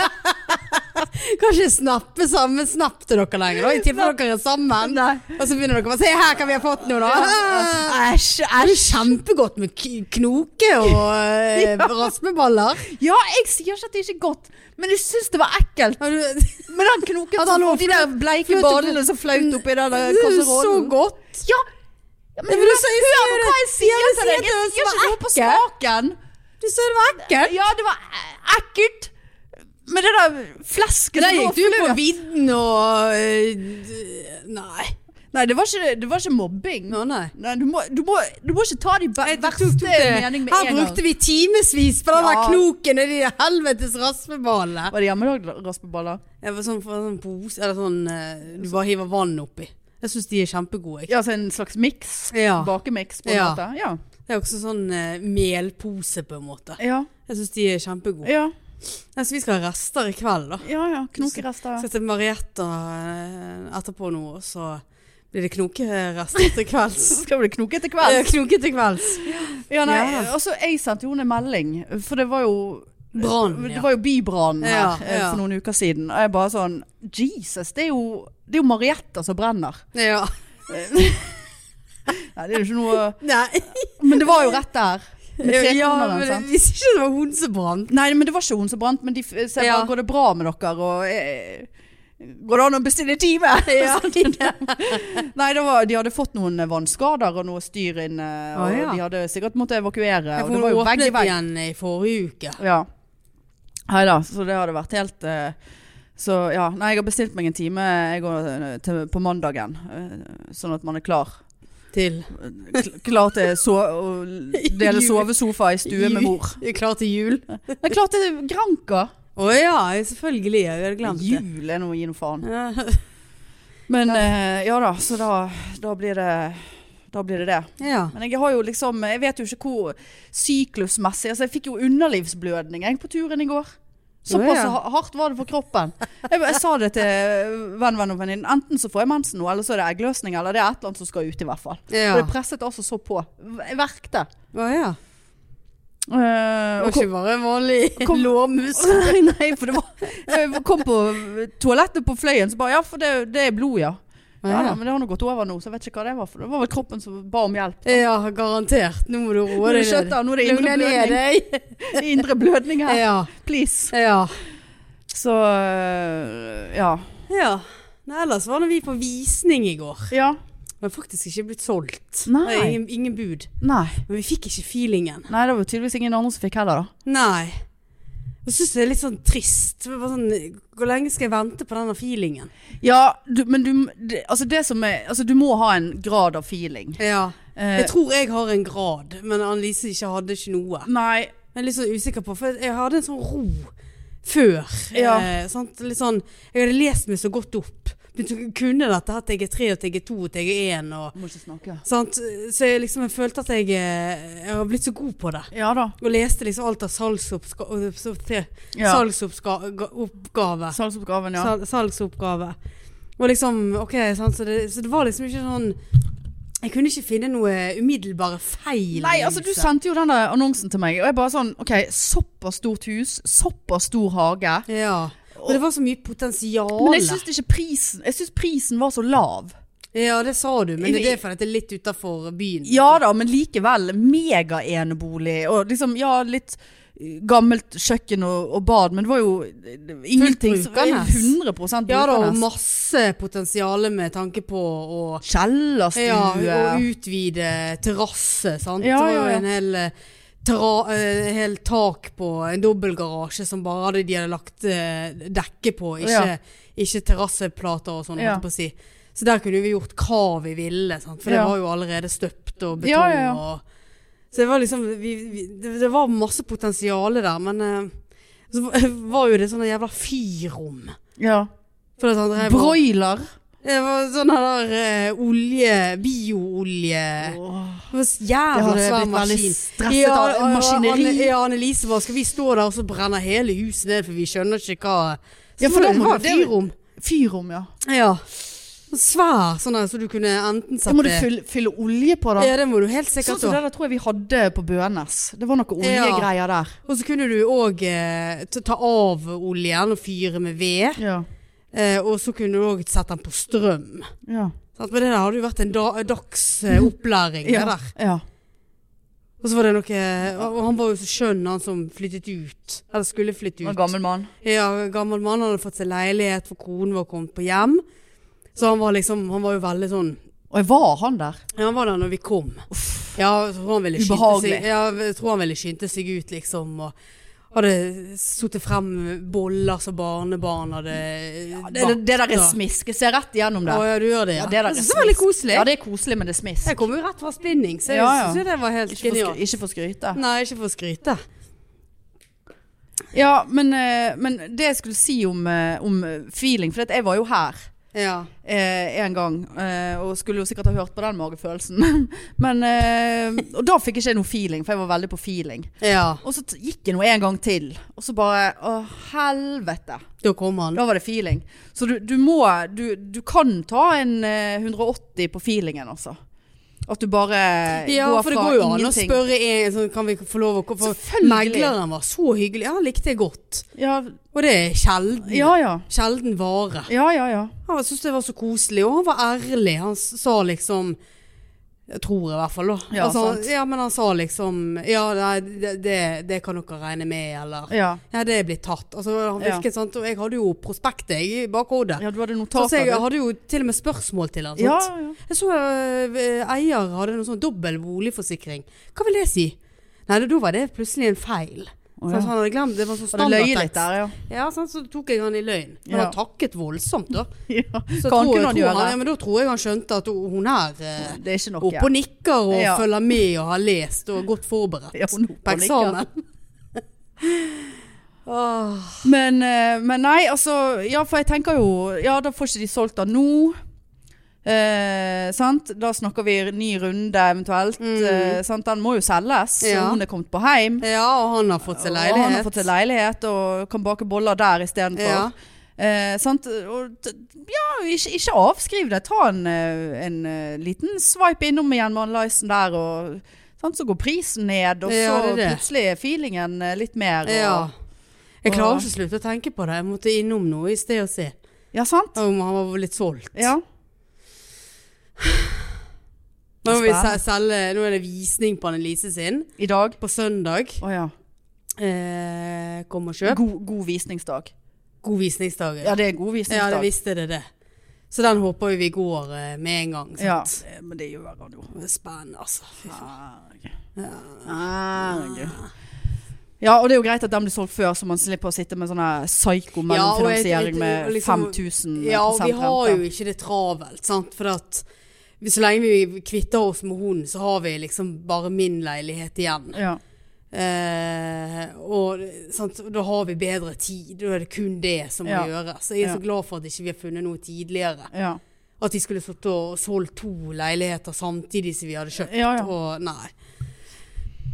[SPEAKER 2] kan ikke snappe sammen snapp til dere lenger, da, i tilfelle dere er sammen.
[SPEAKER 1] Nei. altså,
[SPEAKER 2] Og så begynner dere å se her hva vi har fått nå, da.
[SPEAKER 1] Æsj,
[SPEAKER 2] Det er jo
[SPEAKER 1] æsj.
[SPEAKER 2] kjempegodt med k- knoke og eh, raspeballer.
[SPEAKER 1] Ja, jeg sier ikke at det ikke er godt, men jeg syns det var ekkelt.
[SPEAKER 2] Har du-
[SPEAKER 1] Med den knoken
[SPEAKER 2] At han
[SPEAKER 1] som
[SPEAKER 2] lå
[SPEAKER 1] får de der bleike
[SPEAKER 2] fløt opp-
[SPEAKER 1] ballene som flaut oppi den der
[SPEAKER 2] Det er jo så
[SPEAKER 1] kasserollen.
[SPEAKER 2] godt.
[SPEAKER 1] Ja, ja, men
[SPEAKER 2] men du
[SPEAKER 1] hør
[SPEAKER 2] sier-
[SPEAKER 1] hør nå hva jeg sier
[SPEAKER 2] du
[SPEAKER 1] til
[SPEAKER 2] sier
[SPEAKER 1] deg. Jeg
[SPEAKER 2] at det
[SPEAKER 1] sier
[SPEAKER 2] var
[SPEAKER 1] ikke noe på
[SPEAKER 2] ekkelt.
[SPEAKER 1] smaken.
[SPEAKER 2] Du sa det var ekkelt.
[SPEAKER 1] Ja, det var e- ekkelt. Men det der flesket
[SPEAKER 2] Der
[SPEAKER 1] som
[SPEAKER 2] gikk
[SPEAKER 1] var
[SPEAKER 2] du jo på
[SPEAKER 1] fløt-
[SPEAKER 2] vidden og eh, d- Nei.
[SPEAKER 1] Nei, det var ikke, det var ikke mobbing.
[SPEAKER 2] Å, nei.
[SPEAKER 1] Nei, du, må, du, må, du må ikke ta de be- verste mening med
[SPEAKER 2] Her
[SPEAKER 1] en gang.
[SPEAKER 2] brukte vi timevis på den der
[SPEAKER 1] Ja.
[SPEAKER 2] knoken i de helvetes raspeballene.
[SPEAKER 1] Var det hjemmelagd raspeballer?
[SPEAKER 2] Jeg var sånn, for sånn pose, eller sånn eh, Du bare hiver vann oppi. Jeg syns de er kjempegode. jeg.
[SPEAKER 1] Ja, altså en slags miks?
[SPEAKER 2] Ja.
[SPEAKER 1] Bakemiks, på en
[SPEAKER 2] Ja.
[SPEAKER 1] måte? Ja.
[SPEAKER 2] Det er også sånn eh, melpose, på en måte.
[SPEAKER 1] Ja,
[SPEAKER 2] Jeg syns de er kjempegode.
[SPEAKER 1] ja,
[SPEAKER 2] Nei, så vi skal ha rester i kveld, da.
[SPEAKER 1] ja, ja. knokerester.
[SPEAKER 2] Skal til Marietta eh, etterpå nå, og så blir det knokerester til kvelds.
[SPEAKER 1] Så skal det knoke til
[SPEAKER 2] Eh,
[SPEAKER 1] kvelds.
[SPEAKER 2] Knoke til kvelds.
[SPEAKER 1] Ja, nei,
[SPEAKER 2] Ja.
[SPEAKER 1] altså jeg sendte jo henne en melding, for det var jo
[SPEAKER 2] Brann, ja.
[SPEAKER 1] Det var jo bybrann her
[SPEAKER 2] Ja,
[SPEAKER 1] eh,
[SPEAKER 2] ja.
[SPEAKER 1] for noen uker siden. Og jeg bare sånn Jesus, det er jo, det er jo Marietta som brenner.
[SPEAKER 2] Ja.
[SPEAKER 1] Nei, det er jo ikke noe
[SPEAKER 2] Nei.
[SPEAKER 1] Men det var jo rett der. Med altså.
[SPEAKER 2] Ja,
[SPEAKER 1] trekroneren,
[SPEAKER 2] men
[SPEAKER 1] sant?
[SPEAKER 2] Hvis ikke det var hun som brant.
[SPEAKER 1] Nei, men det var ikke hun som brant, men de f- så jeg
[SPEAKER 2] Ja.
[SPEAKER 1] bare Går det bra med dere? Og eh, Går det an å bestille time?
[SPEAKER 2] Sånn,
[SPEAKER 1] Nei, det var, de hadde fått noen eh, vannskader og noe styr inne. Og
[SPEAKER 2] Å, ja.
[SPEAKER 1] de hadde sikkert måttet evakuere. Og
[SPEAKER 2] Hun
[SPEAKER 1] det var jo
[SPEAKER 2] åpnet
[SPEAKER 1] vegg i vegg.
[SPEAKER 2] igjen i forrige uke.
[SPEAKER 1] Ja. Nei da, så det hadde vært helt eh, Så ja. Nei, jeg har bestilt meg en time jeg går, eh, til, på mandagen. eh, sånn at man er klar.
[SPEAKER 2] Til
[SPEAKER 1] Kl- Klar til so å dele
[SPEAKER 2] Jul.
[SPEAKER 1] sovesofa i stue med mor.
[SPEAKER 2] Ju- Klar til jul.
[SPEAKER 1] Men klart det er Granka!
[SPEAKER 2] Å ja, selvfølgelig. Jeg hadde glemt det.
[SPEAKER 1] Jul er noe å gi noe faen.
[SPEAKER 2] Ja.
[SPEAKER 1] Men eh, ja da, så da, da blir det da blir det det.
[SPEAKER 2] Ja.
[SPEAKER 1] Men jeg har jo liksom Jeg vet jo ikke hvor syklusmessig Altså, jeg fikk jo underlivsblødning jeg, på turen i går. Såpass
[SPEAKER 2] Å, ja.
[SPEAKER 1] ha- hardt var det for kroppen. Jeg, jeg sa det til venn, venn og venninne. Enten så får jeg mensen nå, eller så er det eggløsning, eller det er et eller annet som skal ut, i hvert fall.
[SPEAKER 2] ja.
[SPEAKER 1] For det presset altså så på. Jeg verkte.
[SPEAKER 2] Å ja.
[SPEAKER 1] Eh, og
[SPEAKER 2] Det var ikke bare vanlig
[SPEAKER 1] Kom-
[SPEAKER 2] lårmus.
[SPEAKER 1] Nei, nei, for det var Jeg kom på toalettet på fløyen, så bare Ja, for det, det er blod, ja. Ja, da, men det har nå gått over nå, så jeg vet ikke hva det var. For det var vel kroppen som ba om hjelp.
[SPEAKER 2] Ja, garantert. Nå må du roe
[SPEAKER 1] Eh, Nå er det
[SPEAKER 2] deg
[SPEAKER 1] skjøtt, da. Nå er det
[SPEAKER 2] Lugn
[SPEAKER 1] indre
[SPEAKER 2] deg ned
[SPEAKER 1] blødning.
[SPEAKER 2] deg.
[SPEAKER 1] Indre blødning her.
[SPEAKER 2] Ja.
[SPEAKER 1] Please.
[SPEAKER 2] Ja.
[SPEAKER 1] Så øh, ja.
[SPEAKER 2] ja. Nei, ellers var nå vi på visning i går.
[SPEAKER 1] Ja.
[SPEAKER 2] Men faktisk ikke blitt solgt.
[SPEAKER 1] Nei.
[SPEAKER 2] Det er Ingen, ingen bud.
[SPEAKER 1] Nei.
[SPEAKER 2] Men vi fikk ikke feelingen.
[SPEAKER 1] Nei, det var tydeligvis ingen andre som fikk heller, da.
[SPEAKER 2] Nei. Jeg syns det er litt sånn trist. Det var Sånn, hvor lenge skal jeg vente på denne feelingen?
[SPEAKER 1] Ja, du, men du det, Altså, det som er Altså, du må ha en grad av feeling.
[SPEAKER 2] Ja.
[SPEAKER 1] Eh,
[SPEAKER 2] Jeg tror jeg har en grad, men Annelise ikke hadde ikke noe.
[SPEAKER 1] nei.
[SPEAKER 2] Jeg er litt sånn usikker på, for jeg hadde en sånn ro før.
[SPEAKER 1] Ja.
[SPEAKER 2] Eh, sant? Litt sånn, jeg hadde lest meg så godt opp. Begynte å kunne dette at jeg er tre, og at jeg er to, og at jeg er én. og-
[SPEAKER 1] Må ikke snakke.
[SPEAKER 2] Sant? Så jeg, liksom, jeg følte at jeg, eh, jeg har blitt så god på det.
[SPEAKER 1] Ja da.
[SPEAKER 2] Og leste liksom alt av salgsoppskave.
[SPEAKER 1] Ja.
[SPEAKER 2] salgsoppgave.
[SPEAKER 1] Salgsoppgaven, ja.
[SPEAKER 2] Sal salgsoppgave. Og liksom, ok, sant? Så, det, så det var liksom ikke sånn Jeg kunne ikke finne noe umiddelbare feil.
[SPEAKER 1] Nei, altså du
[SPEAKER 2] Lise.
[SPEAKER 1] sendte jo den der annonsen til meg, og jeg bare sånn OK, såpass stort hus, såpass stor hage.
[SPEAKER 2] Ja. Og det var så mye potensial.
[SPEAKER 1] Men jeg syns ikke prisen Jeg syns prisen var så lav.
[SPEAKER 2] Ja, det sa du, men det er fordi det er litt utafor byen.
[SPEAKER 1] Ja da, men likevel. Megaenebolig. Og liksom, ja, litt eh, gammelt kjøkken og, og bad, men det var jo eh, ingenting som
[SPEAKER 2] brukende.
[SPEAKER 1] 100
[SPEAKER 2] Ja da, og
[SPEAKER 1] brukende.
[SPEAKER 2] masse potensial med tanke på å
[SPEAKER 1] Kjellerstue.
[SPEAKER 2] ja, og utvide terrasse, sant.
[SPEAKER 1] Ja, ja,
[SPEAKER 2] det var
[SPEAKER 1] ja.
[SPEAKER 2] jo en hel, eh, tra, eh, hel tak på en dobbeltgarasje som bare hadde de hadde lagt eh, dekke på, ikke,
[SPEAKER 1] Ja.
[SPEAKER 2] ikke terrasseplater og sånn,
[SPEAKER 1] Ja.
[SPEAKER 2] holdt jeg på å si. Så der kunne vi gjort hva vi ville, sant? for
[SPEAKER 1] Ja.
[SPEAKER 2] det var jo allerede støpt og betong
[SPEAKER 1] Ja, ja, ja.
[SPEAKER 2] og Så det var liksom vi, vi, det, det var masse potensial der, men eh, så var jo det sånne jævla fyrom.
[SPEAKER 1] ja.
[SPEAKER 2] For sånn, at han drev og-
[SPEAKER 1] Broiler.
[SPEAKER 2] det var sånn der eh, olje, bioolje Det var så
[SPEAKER 1] Det
[SPEAKER 2] jævla
[SPEAKER 1] hadde
[SPEAKER 2] svær
[SPEAKER 1] blitt veldig
[SPEAKER 2] maskin.
[SPEAKER 1] stresset av
[SPEAKER 2] og- og
[SPEAKER 1] maskineri.
[SPEAKER 2] Anne, ja, Annelise bare Skal vi stå der og så brenne hele huset ned, for vi skjønner ikke hva
[SPEAKER 1] Ja, for da må
[SPEAKER 2] var
[SPEAKER 1] du- det er jo-
[SPEAKER 2] fyrrom.
[SPEAKER 1] Fyrrom, ja.
[SPEAKER 2] Ja. Så Svær sånn der, så du kunne enten
[SPEAKER 1] Det
[SPEAKER 2] sette
[SPEAKER 1] må du fylle, fylle olje på, da.
[SPEAKER 2] Ja, det må du helt
[SPEAKER 1] Sånn
[SPEAKER 2] sikkert
[SPEAKER 1] som det
[SPEAKER 2] da.
[SPEAKER 1] der tror jeg vi hadde på Bønes. Det var noe oljegreier der.
[SPEAKER 2] Og så kunne du òg eh, ta- ta av oljen og fyre med ved.
[SPEAKER 1] Ja.
[SPEAKER 2] Eh, og så kunne du òg sette den på strøm.
[SPEAKER 1] Ja.
[SPEAKER 2] Sant? Men det der hadde jo vært en da, dags eh, opplæring, det der.
[SPEAKER 1] ja.
[SPEAKER 2] Og så var det noe Og han var jo så skjønn, han som flyttet ut. Eller skulle flytte ut.
[SPEAKER 1] gammel mann.
[SPEAKER 2] Ja, gammel mann. Han hadde fått seg leilighet, for konen var kommet på hjem. Så han var liksom Han var jo veldig sånn
[SPEAKER 1] Og jeg var han der.
[SPEAKER 2] ja, Han var der når vi kom. Ja, jeg tror han ville skynde
[SPEAKER 1] Ubehagelig.
[SPEAKER 2] seg, ja, jeg tror han ville skynde seg ut, liksom. Og hadde sittet frem boller som barnebarn hadde
[SPEAKER 1] Det, det, det der er smisk. Jeg ser rett igjennom
[SPEAKER 2] Å
[SPEAKER 1] det.
[SPEAKER 2] ja, du gjør det, ja.
[SPEAKER 1] det der er
[SPEAKER 2] Jeg synes det var litt
[SPEAKER 1] smisk.
[SPEAKER 2] koselig.
[SPEAKER 1] Ja, det er koselig, men det er smisk.
[SPEAKER 2] Jeg kom jo rett fra spinning, så jeg
[SPEAKER 1] Ja,
[SPEAKER 2] synes
[SPEAKER 1] ja.
[SPEAKER 2] jo det var helt
[SPEAKER 1] Ikke for, skry-
[SPEAKER 2] genialt.
[SPEAKER 1] ikke for skryte.
[SPEAKER 2] Nei, ikke for å skryte.
[SPEAKER 1] Ja, men, eh, men det jeg skulle si om, eh, om feeling, for at jeg var jo her.
[SPEAKER 2] Ja.
[SPEAKER 1] eh, en gang, eh, og skulle jo sikkert ha hørt på den magefølelsen. Men, eh, og da fikk ikke jeg noe feeling, for jeg var veldig på feeling.
[SPEAKER 2] ja.
[SPEAKER 1] Og så t- gikk jeg nå en gang til, og så bare Å, helvete.
[SPEAKER 2] Da kommer han.
[SPEAKER 1] Da var det feeling. Så du, du må du, du kan ta en eh, 180 på feelingen, altså. At du bare
[SPEAKER 2] Ja,
[SPEAKER 1] går
[SPEAKER 2] for det
[SPEAKER 1] fra
[SPEAKER 2] går jo an å
[SPEAKER 1] ingenting.
[SPEAKER 2] spørre en sånn, Kan vi få lov å gå for
[SPEAKER 1] Selvfølgelig.
[SPEAKER 2] Megleren var så hyggelig. Ja, han likte jeg godt.
[SPEAKER 1] Ja,
[SPEAKER 2] Og det er sjelden.
[SPEAKER 1] ja. Ja,
[SPEAKER 2] Sjelden vare.
[SPEAKER 1] ja. ja, ja.
[SPEAKER 2] Han syntes det var så koselig, og han var ærlig. Han s- sa liksom Jeg tror i hvert fall, da.
[SPEAKER 1] Ja,
[SPEAKER 2] altså,
[SPEAKER 1] sant.
[SPEAKER 2] ja men han sa liksom Ja, nei, det, det, det kan dere regne med, eller
[SPEAKER 1] ja.
[SPEAKER 2] Ja, det er blitt tatt. Altså, han
[SPEAKER 1] Ja.
[SPEAKER 2] virket sant, og jeg hadde jo prospektet jeg, i bakhodet.
[SPEAKER 1] ja du hadde
[SPEAKER 2] Så
[SPEAKER 1] notater.
[SPEAKER 2] jeg
[SPEAKER 1] du.
[SPEAKER 2] hadde jo til og med spørsmål til han.
[SPEAKER 1] ja,
[SPEAKER 2] sant?
[SPEAKER 1] ja.
[SPEAKER 2] Jeg så øh, eier hadde noen sånn dobbel boligforsikring. Hva vil det si? Nei, da- da var det plutselig en feil.
[SPEAKER 1] Å,
[SPEAKER 2] Så
[SPEAKER 1] ja.
[SPEAKER 2] han hadde glemt, det var sånn
[SPEAKER 1] Hadde løyet
[SPEAKER 2] standardtekst.
[SPEAKER 1] litt der, ja.
[SPEAKER 2] Ja, sant, så tok jeg han i løgn. Men
[SPEAKER 1] Ja.
[SPEAKER 2] han takket voldsomt da.
[SPEAKER 1] ja.
[SPEAKER 2] Så
[SPEAKER 1] Hva
[SPEAKER 2] tror-
[SPEAKER 1] kunne han
[SPEAKER 2] tror
[SPEAKER 1] gjøre?
[SPEAKER 2] ja, men da tror jeg han skjønte at hun her eh,
[SPEAKER 1] Det er ikke nok,
[SPEAKER 2] oppe og nikker og
[SPEAKER 1] Ja.
[SPEAKER 2] følger med og har lest og er godt forberedt
[SPEAKER 1] Ja, hun er oppe
[SPEAKER 2] på
[SPEAKER 1] og nikker.
[SPEAKER 2] eksamen. Åh,
[SPEAKER 1] Men, eh, men nei, altså Ja, for jeg tenker jo Ja, da får ikke de solgt den nå. Eh, sant? Da snakker vi ny runde eventuelt.
[SPEAKER 2] Mm.
[SPEAKER 1] Eh, sant? Den må jo selges.
[SPEAKER 2] Ja.
[SPEAKER 1] Og hun er kommet på heim.
[SPEAKER 2] ja, og han har fått seg leilighet.
[SPEAKER 1] Og han har fått seg leilighet og kan bake boller der istedenfor.
[SPEAKER 2] Ja.
[SPEAKER 1] Eh, sant? Og, t- ja, ikke, ikke avskriv det. Ta en, eh, en eh, liten swipe innom igjen med Lyson der, og sant? så går prisen ned. Og
[SPEAKER 2] Ja,
[SPEAKER 1] så
[SPEAKER 2] det er det.
[SPEAKER 1] plutselig er feelingen eh, litt mer. Og,
[SPEAKER 2] Ja. Jeg
[SPEAKER 1] og-
[SPEAKER 2] klarer ikke å slutte å tenke på det. Jeg måtte innom noe i sted og se
[SPEAKER 1] ja, sant?
[SPEAKER 2] om han var litt solgt.
[SPEAKER 1] Ja.
[SPEAKER 2] Nå, må vi se-
[SPEAKER 1] Spennende.
[SPEAKER 2] selge, nå er det visning på Annelise sin
[SPEAKER 1] I dag.
[SPEAKER 2] på søndag.
[SPEAKER 1] Å ja.
[SPEAKER 2] Eh, kom og kjøp.
[SPEAKER 1] God, god visningsdag.
[SPEAKER 2] God visningsdag.
[SPEAKER 1] Ja, det er god
[SPEAKER 2] Ja, det
[SPEAKER 1] visningsdag.
[SPEAKER 2] visste det det. Så den håper vi vi går eh, med en gang.
[SPEAKER 1] Ja,
[SPEAKER 2] Sant?
[SPEAKER 1] eh, men det gjør han jo.
[SPEAKER 2] Det er Spennende, altså. Fy faen.
[SPEAKER 1] Herregud. Herregud. Ja, og det er jo greit at den blir solgt før, så man slipper å sitte med sånn her psyko
[SPEAKER 2] Ja, og
[SPEAKER 1] mellomfinansiering
[SPEAKER 2] jeg- jeg-
[SPEAKER 1] Mm, med
[SPEAKER 2] og liksom-
[SPEAKER 1] 5000
[SPEAKER 2] Ja, og vi har jo
[SPEAKER 1] rente.
[SPEAKER 2] ikke det travelt, sant. For at vi- så lenge vi kvitter oss med hunden, så har vi liksom bare min leilighet igjen.
[SPEAKER 1] Ja.
[SPEAKER 2] Eh, og sant? og da har vi bedre tid. Da er det kun det som må
[SPEAKER 1] Ja.
[SPEAKER 2] gjøres. Så jeg er
[SPEAKER 1] Ja.
[SPEAKER 2] så glad for at ikke vi ikke har funnet noe tidligere.
[SPEAKER 1] Ja.
[SPEAKER 2] At vi skulle stått og solgt to leiligheter samtidig som vi hadde kjøpt.
[SPEAKER 1] Ja, ja.
[SPEAKER 2] Og nei.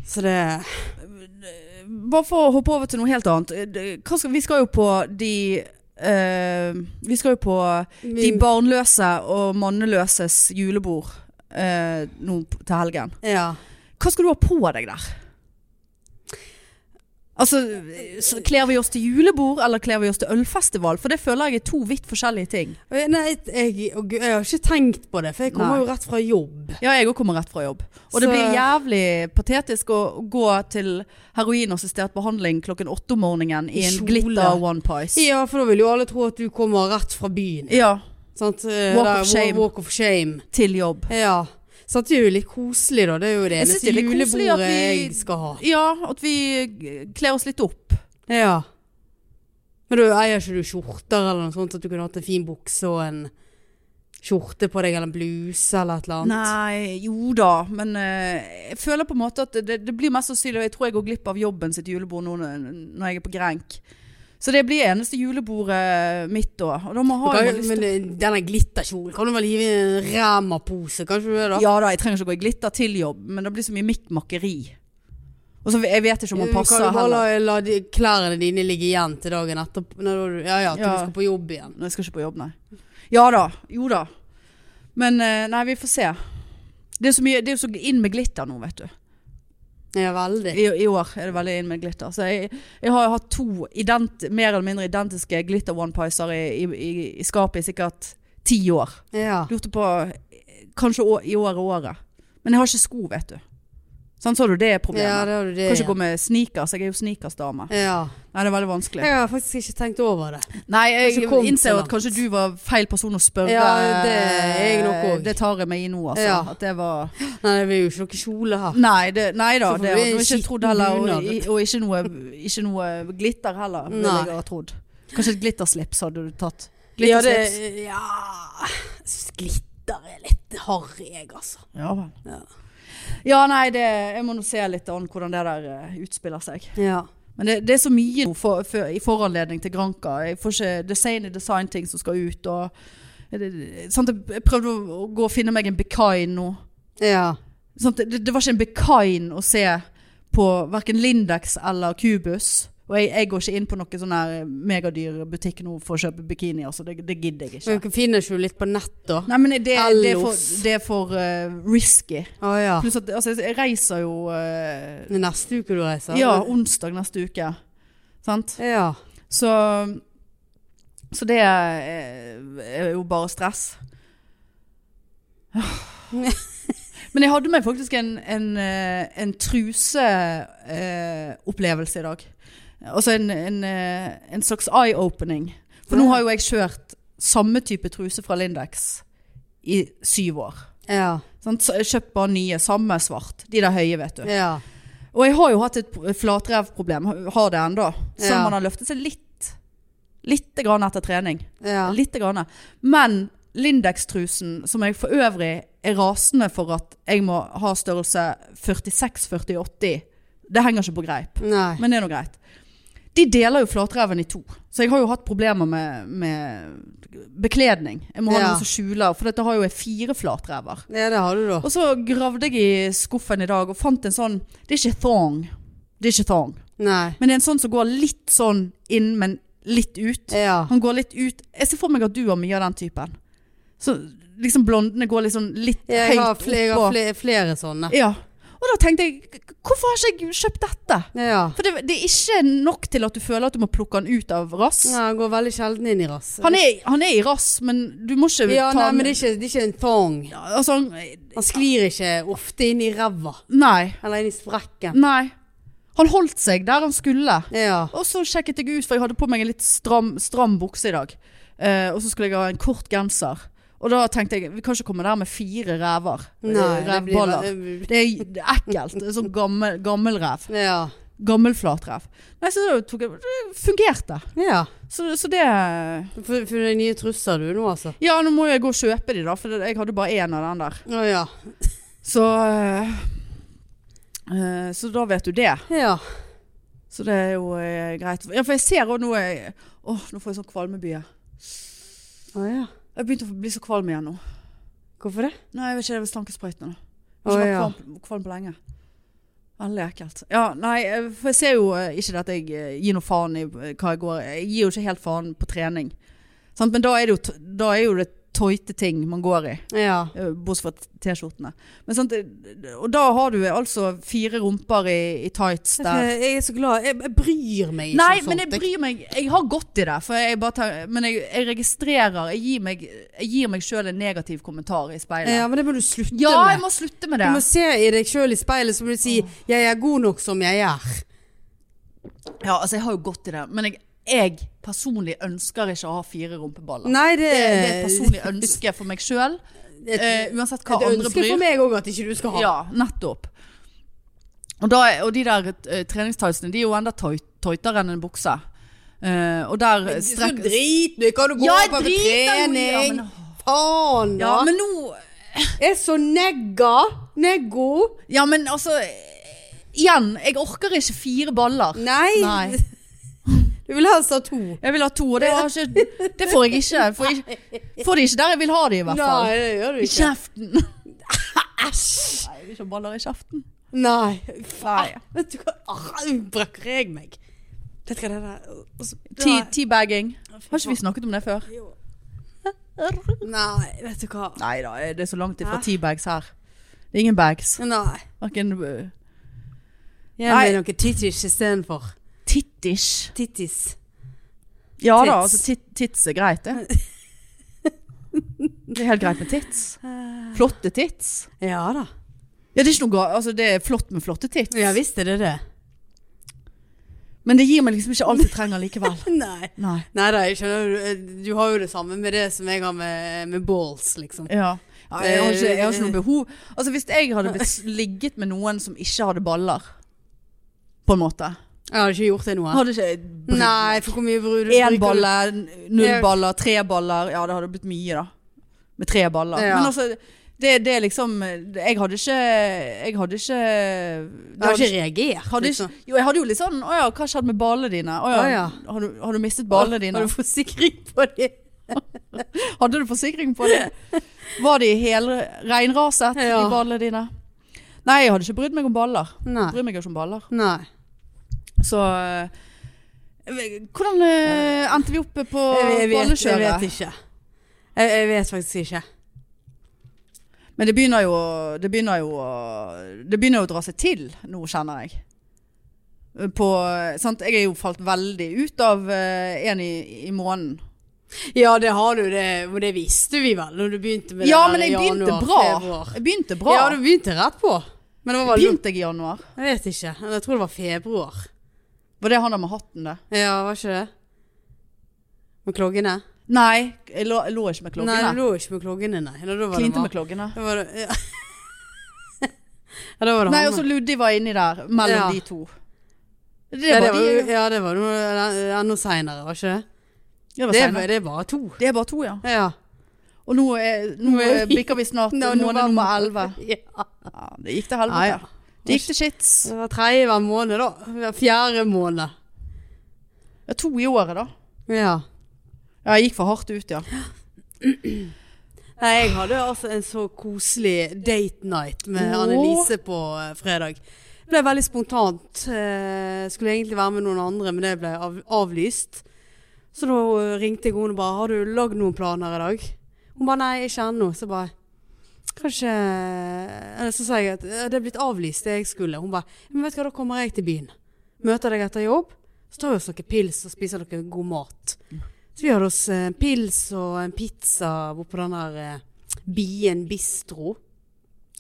[SPEAKER 2] Så det
[SPEAKER 1] Bare for å hoppe over til noe helt annet. Eh, det- Hva skal, vi skal jo på de eh, Vi skal jo på de barnløse og manneløses julebord eh, nå p- til helgen.
[SPEAKER 2] Ja.
[SPEAKER 1] Hva skal du ha på deg der? Altså, så kler vi oss til julebord, eller kler vi oss til ølfestival? For det føler jeg er to vidt forskjellige ting.
[SPEAKER 2] Eh, Nei, jeg, og gud, jeg har ikke tenkt på det, for jeg kommer
[SPEAKER 1] Nei.
[SPEAKER 2] jo rett fra jobb.
[SPEAKER 1] Ja, jeg òg kommer rett fra jobb. Og det
[SPEAKER 2] Så-
[SPEAKER 1] blir jævlig patetisk å gå til heroinassistert behandling klokken åtte om morgenen i
[SPEAKER 2] I
[SPEAKER 1] en
[SPEAKER 2] kjole.
[SPEAKER 1] glitter one piece.
[SPEAKER 2] Ja, for da vil jo alle tro at du kommer rett fra byen.
[SPEAKER 1] Ja,
[SPEAKER 2] Sant? Eh,
[SPEAKER 1] Walk
[SPEAKER 2] der-
[SPEAKER 1] of shame.
[SPEAKER 2] Walk of shame.
[SPEAKER 1] til jobb.
[SPEAKER 2] Ja. Sant, det er jo litt koselig, da. Det er jo
[SPEAKER 1] Jeg
[SPEAKER 2] det
[SPEAKER 1] synes
[SPEAKER 2] eneste
[SPEAKER 1] det er litt koselig at
[SPEAKER 2] julebordet
[SPEAKER 1] vi-
[SPEAKER 2] jeg skal ha.
[SPEAKER 1] Ja, at vi eh, kler oss litt opp.
[SPEAKER 2] Ja. Men du eier ikke du skjorter eller noe sånt, at du kunne hatt en fin bukse og en skjorte på deg, eller en bluse eller et eller annet?
[SPEAKER 1] Nei, jo da, men eh, jeg føler på en måte at det, det blir mest sannsynlig Jeg tror jeg går glipp av jobben sitt julebord nå når når jeg er på Grenk. Så det blir eneste julebordet mitt da. Og da må
[SPEAKER 2] Du
[SPEAKER 1] ha
[SPEAKER 2] Kan,
[SPEAKER 1] jeg
[SPEAKER 2] jo-
[SPEAKER 1] lyst
[SPEAKER 2] men
[SPEAKER 1] til
[SPEAKER 2] eh, denne glitterkjolen kan du vel hive i en Rema-pose, kan ikke du det, da?
[SPEAKER 1] Ja da, jeg trenger ikke å gå i glitter til jobb, men det blir så mye mikkmakkeri. Og så jeg vet ikke om man
[SPEAKER 2] Du
[SPEAKER 1] passer
[SPEAKER 2] kan jo bare
[SPEAKER 1] heller.
[SPEAKER 2] la, la de, klærne dine ligge igjen til dagen etterpå. Når du, ja, ja, til
[SPEAKER 1] Ja.
[SPEAKER 2] du skal på jobb igjen.
[SPEAKER 1] Nei, Jeg skal ikke på jobb, nei. Ja da, jo da. Men eh, nei, vi får se. Det er så mye, det er jo så inn med glitter nå, vet du.
[SPEAKER 2] Ja, veldig.
[SPEAKER 1] I, I år er det veldig inn med glitter. Så jeg, jeg har hatt to ident, mer eller mindre identiske glitter one-picer i, i, i, i skapet i sikkert ti år.
[SPEAKER 2] Ja.
[SPEAKER 1] Lurte på eh, Kanskje å, i år og året. Men jeg har ikke sko, vet du. Sånn så du det er
[SPEAKER 2] ja,
[SPEAKER 1] problemet.
[SPEAKER 2] det har du det
[SPEAKER 1] kan ikke gå
[SPEAKER 2] igjen.
[SPEAKER 1] med sneakers. Jeg er jo sneakersdame.
[SPEAKER 2] Ja.
[SPEAKER 1] Nei, det er veldig vanskelig.
[SPEAKER 2] Jeg har faktisk ikke tenkt over det.
[SPEAKER 1] Nei, jeg
[SPEAKER 2] Kanskje Altså, kom
[SPEAKER 1] innser
[SPEAKER 2] så
[SPEAKER 1] jo at kanskje du var feil person å spørre.
[SPEAKER 2] Ja, det er jeg nok også.
[SPEAKER 1] Det tar jeg meg i nå, altså.
[SPEAKER 2] Ja.
[SPEAKER 1] At det var
[SPEAKER 2] Nei, det blir jo ikke noe kjole her.
[SPEAKER 1] Nei, det, nei da.
[SPEAKER 2] Så
[SPEAKER 1] Det
[SPEAKER 2] får vi
[SPEAKER 1] hadde jeg ikke
[SPEAKER 2] skitten
[SPEAKER 1] trodd heller.
[SPEAKER 2] bunad.
[SPEAKER 1] Og, i- og ikke, noe, ikke noe glitter heller, ville
[SPEAKER 2] Nei.
[SPEAKER 1] jeg ha trodd. Kanskje et glitterslips hadde du tatt.
[SPEAKER 2] Ja, det,
[SPEAKER 1] Glitterslips.
[SPEAKER 2] ja. Jeg synes glitter er litt harry, jeg, altså.
[SPEAKER 1] Ja, vel.
[SPEAKER 2] Ja.
[SPEAKER 1] Ja, nei, det, jeg må nå se litt an hvordan det der eh, utspiller seg.
[SPEAKER 2] Ja.
[SPEAKER 1] Men det, det er så mye nå for, for, i foranledning til Granka. Jeg får ikke, det er Sane Design-ting som skal ut, og det- sant, Jeg prøvde å å gå og finne meg en Bekain nå.
[SPEAKER 2] Ja.
[SPEAKER 1] Sant, Sånn det, det var ikke en Bekain å se på verken Lindex eller Cubus. Og jeg, jeg går ikke inn på noen sånn her megadyr butikk nå for å kjøpe bikini. Altså, det, det gidder jeg ikke.
[SPEAKER 2] Men dere finner ikke jo litt på nett, da?
[SPEAKER 1] Nei, men det, det er for,
[SPEAKER 2] Ellos.
[SPEAKER 1] det er for eh, risky.
[SPEAKER 2] Å ja.
[SPEAKER 1] Pluss at altså, jeg reiser jo eh,
[SPEAKER 2] Det er neste uke du reiser?
[SPEAKER 1] Ja, onsdag neste uke. Sant?
[SPEAKER 2] Ja.
[SPEAKER 1] Så, så det er, er jo bare stress. Men jeg hadde meg faktisk en, en, eh, en truseopplevelse i dag. Altså en, en, eh, en slags eye-opening. For nå har jo jeg kjørt samme type truse fra Lindex i syv år.
[SPEAKER 2] Ja.
[SPEAKER 1] Sant? Så jeg kjøpte bare nye, samme svart. De der høye, vet du.
[SPEAKER 2] ja.
[SPEAKER 1] Og jeg har jo hatt et pro- flatrevproblem, har det ennå. Så
[SPEAKER 2] Ja.
[SPEAKER 1] man har løftet seg litt. Litt grann etter trening.
[SPEAKER 2] ja.
[SPEAKER 1] Litt grann. Men Lindex-trusen, som jeg for øvrig er rasende for at jeg må ha størrelse 46-40-80, det henger ikke på greip.
[SPEAKER 2] Nei.
[SPEAKER 1] Men det er nå greit. De deler jo flatreven i to. Så jeg har jo hatt problemer med, med bekledning. Jeg må ha
[SPEAKER 2] Ja.
[SPEAKER 1] noe som skjuler, for dette har jo jeg fire flatrever.
[SPEAKER 2] Ja, det har du, da.
[SPEAKER 1] Og så gravde jeg i skuffen i dag og fant en sånn Det er ikke thong. Det er ikke thong.
[SPEAKER 2] Nei.
[SPEAKER 1] Men det er en sånn som går litt sånn inn, men litt ut.
[SPEAKER 2] Ja.
[SPEAKER 1] Han går litt ut. Jeg ser for meg at du har mye av den typen. Så liksom blondene går liksom litt
[SPEAKER 2] Jeg har,
[SPEAKER 1] høyt
[SPEAKER 2] fl jeg har
[SPEAKER 1] oppå.
[SPEAKER 2] fl flere sånne.
[SPEAKER 1] Ja. Og da tenkte jeg, hvorfor har ikke jeg kjøpt dette?
[SPEAKER 2] Ja.
[SPEAKER 1] For det, det er ikke nok til at du føler at du må plukke han ut av rass.
[SPEAKER 2] Nei, han går veldig sjelden inn i rass.
[SPEAKER 1] Han er, han er i rass, men du må ikke
[SPEAKER 2] ja,
[SPEAKER 1] ta
[SPEAKER 2] nei,
[SPEAKER 1] han-
[SPEAKER 2] men det er, ikke, det er ikke en thong.
[SPEAKER 1] Altså, han-
[SPEAKER 2] Han sklir ikke ofte inn i ræva.
[SPEAKER 1] nei.
[SPEAKER 2] Eller inn i sprekken.
[SPEAKER 1] Nei. Han holdt seg der han skulle.
[SPEAKER 2] Ja.
[SPEAKER 1] Og så sjekket jeg ut, for jeg hadde på meg en litt stram, stram bukse i dag. Eh, og så skulle jeg ha en kort genser. Og da tenkte jeg, vi kan ikke komme der med fire ræver. eh,
[SPEAKER 2] det blir-
[SPEAKER 1] Rævballer. Det er det er ekkelt. Det er Sånn gammel, gammel ræv.
[SPEAKER 2] Ja.
[SPEAKER 1] Gammel flatrev. Nei, så da tok jeg, det fungerte.
[SPEAKER 2] ja.
[SPEAKER 1] Så, så det
[SPEAKER 2] Du får får deg nye trusser du nå, altså.
[SPEAKER 1] Ja, nå må jeg gå og kjøpe de, da, for det- jeg hadde bare én av den der.
[SPEAKER 2] Å ja.
[SPEAKER 1] Så eh, eh, Så da vet du det.
[SPEAKER 2] Ja.
[SPEAKER 1] Så det er jo eh, greit. Ja, for jeg ser òg nå jeg- Åh, nå får jeg sånn kvalmebye.
[SPEAKER 2] Å ja.
[SPEAKER 1] Jeg begynte å bli så kvalm igjen nå.
[SPEAKER 2] Hvorfor det?
[SPEAKER 1] Nei, jeg vet ikke, det er vel slankesprøytene. da. Jeg
[SPEAKER 2] Å,
[SPEAKER 1] har
[SPEAKER 2] ja.
[SPEAKER 1] ikke vært kvalm, kvalm på lenge. Veldig ekkelt. Ja, nei, eh, for jeg ser jo eh, ikke det at jeg eh, gir noe faen i eh, hva jeg går Jeg gir jo ikke helt faen på trening. Sant? Men da er det jo, t- da er jo det tøyte ting man går i,
[SPEAKER 2] Ja.
[SPEAKER 1] eh, bortsett fra T-skjortene. Men sant, eh, Og da har du altså fire rumper i, i tights der.
[SPEAKER 2] eh, Jeg er så glad. Jeg, jeg bryr meg ikke sånn
[SPEAKER 1] Nei,
[SPEAKER 2] om sånt.
[SPEAKER 1] men jeg bryr meg Jeg har gått i det, for jeg bare tar, men jeg, jeg registrerer Jeg gir meg, jeg gir meg sjøl en negativ kommentar i speilet.
[SPEAKER 2] Ja, men det må du slutte
[SPEAKER 1] Ja, jeg
[SPEAKER 2] med.
[SPEAKER 1] må slutte med
[SPEAKER 2] Du
[SPEAKER 1] det.
[SPEAKER 2] må se i deg sjøl i speilet, så må du si 'jeg er god nok som jeg er'.
[SPEAKER 1] Ja, altså jeg har jo gått i det, men jeg, jeg personlig ønsker ikke å ha fire rumpeballer.
[SPEAKER 2] Nei, det,
[SPEAKER 1] Det, det er et personlig ønske for meg sjøl,
[SPEAKER 2] et,
[SPEAKER 1] eh, uansett hva
[SPEAKER 2] et
[SPEAKER 1] andre
[SPEAKER 2] ønske for
[SPEAKER 1] bryr.
[SPEAKER 2] meg òg at ikke du skal ha.
[SPEAKER 1] Ja, nettopp. Og, da, er- og de der eh, treningstightsene, de er jo enda tøy- tøytere enn en bukse. Eh, og der
[SPEAKER 2] Så
[SPEAKER 1] strekker
[SPEAKER 2] drit nå i hva du går
[SPEAKER 1] Ja, jeg
[SPEAKER 2] på på
[SPEAKER 1] driter jo i- ja,
[SPEAKER 2] trening.
[SPEAKER 1] men-
[SPEAKER 2] Faen, da.
[SPEAKER 1] Ja, men nå
[SPEAKER 2] Jeg er så negga. Neggo.
[SPEAKER 1] Ja, men altså eh, Igjen, jeg orker ikke fire baller.
[SPEAKER 2] Nei.
[SPEAKER 1] Nei.
[SPEAKER 2] Du vil helst ha to.
[SPEAKER 1] Jeg vil ha to, og det, har ikke, det får jeg ikke. Får, jeg, får de ikke der jeg vil ha de, i hvert fall.
[SPEAKER 2] det gjør du
[SPEAKER 1] I kjeften. Nei,
[SPEAKER 2] Æsj.
[SPEAKER 1] jeg vil ikke ha baller i kjeften.
[SPEAKER 2] Nei.
[SPEAKER 1] Nei.
[SPEAKER 2] Faen. Vet du hva? Ah, Nå brakker jeg meg. Vet du hva det der og så-
[SPEAKER 1] Tea- Teabagging. Har ikke vi snakket om det før?
[SPEAKER 2] Nei, vet du hva.
[SPEAKER 1] Nei da, eh, det er så langt
[SPEAKER 2] ifra
[SPEAKER 1] ifra teabags her. Det er ingen bags.
[SPEAKER 2] Nei.
[SPEAKER 1] Verken
[SPEAKER 2] Jeg
[SPEAKER 1] Nei.
[SPEAKER 2] vil noe tittis istedenfor.
[SPEAKER 1] tittish.
[SPEAKER 2] Tittis.
[SPEAKER 1] Ja
[SPEAKER 2] Tits.
[SPEAKER 1] da, altså tit, tits er greit, det. Det er helt greit med tits. Flotte tits.
[SPEAKER 2] Ja da.
[SPEAKER 1] Ja, det er ikke noe ga- Altså, det er flott med flotte tits.
[SPEAKER 2] Ja visst er det det.
[SPEAKER 1] Men det gir meg liksom ikke alt jeg trenger likevel.
[SPEAKER 2] Nei.
[SPEAKER 1] Nei.
[SPEAKER 2] Nei da, jeg skjønner. Du, du har jo det samme med det som jeg har med, med balls, liksom.
[SPEAKER 1] Ja. Ja, jeg, har ikke, jeg har ikke noe behov Altså Hvis jeg hadde blitt ligget med noen som ikke hadde baller, på en måte
[SPEAKER 2] Jeg har ikke gjort det nå. jeg.
[SPEAKER 1] Hadde ikke jeg
[SPEAKER 2] Nei, for hvor mye bruker du?
[SPEAKER 1] Én
[SPEAKER 2] bruker du-
[SPEAKER 1] balle, null baller, tre baller. Ja, det hadde blitt mye, da. Med tre baller.
[SPEAKER 2] Ja.
[SPEAKER 1] Men altså, det, det er liksom Jeg hadde ikke Jeg hadde ikke det
[SPEAKER 2] Du har
[SPEAKER 1] hadde
[SPEAKER 2] ikke reagert?
[SPEAKER 1] hadde ikke,
[SPEAKER 2] liksom.
[SPEAKER 1] jo, jeg hadde jo litt sånn Å ja, hva skjedde med ballene dine? Å ja,
[SPEAKER 2] Å ja.
[SPEAKER 1] Har, du, har du mistet ballene dine?
[SPEAKER 2] Har du forsikring på det?
[SPEAKER 1] Hadde du forsikring på det? Var de helreinraset, ja.
[SPEAKER 2] Ja.
[SPEAKER 1] de ballene dine? Nei, jeg hadde ikke brydd meg om baller.
[SPEAKER 2] Nei.
[SPEAKER 1] Bryr meg ikke om baller.
[SPEAKER 2] Nei.
[SPEAKER 1] Så eh, Hvordan eh, endte vi opp på
[SPEAKER 2] Jeg, jeg, vet, jeg vet
[SPEAKER 1] ballekjøret?
[SPEAKER 2] ikke. Jeg, jeg vet faktisk ikke.
[SPEAKER 1] Men det begynner jo Det begynner jo å- Det begynner jo å dra seg til nå, kjenner jeg. På, sant? Jeg er jo falt veldig ut av eh, en i, i måneden.
[SPEAKER 2] Ja, det har du, det, og det visste vi vel når du begynte med
[SPEAKER 1] Ja,
[SPEAKER 2] det
[SPEAKER 1] men
[SPEAKER 2] der i
[SPEAKER 1] jeg begynte
[SPEAKER 2] januar,
[SPEAKER 1] bra.
[SPEAKER 2] februar.
[SPEAKER 1] Jeg begynte bra.
[SPEAKER 2] Ja, du begynte rett på. Men det var vel
[SPEAKER 1] Begynte jeg i januar?
[SPEAKER 2] Jeg vet ikke. Eller Jeg tror det var februar.
[SPEAKER 1] Var det han der med hatten, det?
[SPEAKER 2] Ja, var ikke det? Med kloggene?
[SPEAKER 1] Nei, jeg lå, jeg lå ikke med
[SPEAKER 2] Nei, du
[SPEAKER 1] klokkene.
[SPEAKER 2] lå ikke med kloggene, nei. Eller da var
[SPEAKER 1] Klinte
[SPEAKER 2] det
[SPEAKER 1] med klokkene.
[SPEAKER 2] Da var det, ja. ja, da var det
[SPEAKER 1] Nei,
[SPEAKER 2] han.
[SPEAKER 1] og så Luddi var inni der, mellom
[SPEAKER 2] Ja.
[SPEAKER 1] de to. Det
[SPEAKER 2] ja, det
[SPEAKER 1] var
[SPEAKER 2] var,
[SPEAKER 1] de.
[SPEAKER 2] ja, det var noe ja, noe seinere, var ikke det?
[SPEAKER 1] Det, var
[SPEAKER 2] Det,
[SPEAKER 1] senere.
[SPEAKER 2] var- det er bare to.
[SPEAKER 1] det er bare to, ja.
[SPEAKER 2] Ja.
[SPEAKER 1] Og nå, er, nå
[SPEAKER 2] Nå
[SPEAKER 1] er,
[SPEAKER 2] er vi-
[SPEAKER 1] bikker vi snart
[SPEAKER 2] Nå,
[SPEAKER 1] måned
[SPEAKER 2] november.
[SPEAKER 1] nummer elleve.
[SPEAKER 2] Ja.
[SPEAKER 1] Ja, det gikk til
[SPEAKER 2] Ja, ja.
[SPEAKER 1] helvete. Det gikk til shits.
[SPEAKER 2] Så det var tredje hver måned, da. Hver Fjerde måned.
[SPEAKER 1] Ja, to i året, da.
[SPEAKER 2] Ja.
[SPEAKER 1] Ja, jeg gikk for hardt ut, ja.
[SPEAKER 2] Nei, jeg hadde altså en så koselig date night med
[SPEAKER 1] Åh.
[SPEAKER 2] Annelise på eh, fredag. Det ble veldig spontant. Eh, skulle egentlig være med noen andre, men det ble av, avlyst. Så da eh, ringte jeg henne og bare 'Har du lagd noen planer i dag?' Hun bare 'Nei, ikke ennå'. Så bare Kanskje Eller så sa jeg at «Ja, 'det er blitt avlyst, det jeg skulle'. Hun bare 'Men vet du hva, da kommer jeg til byen. Møter deg etter jobb. Så tar vi oss noen pils og spiser noe god mat'. Så vi hadde oss eh, en pils og en pizza bort på den der eh, Bien Bistro.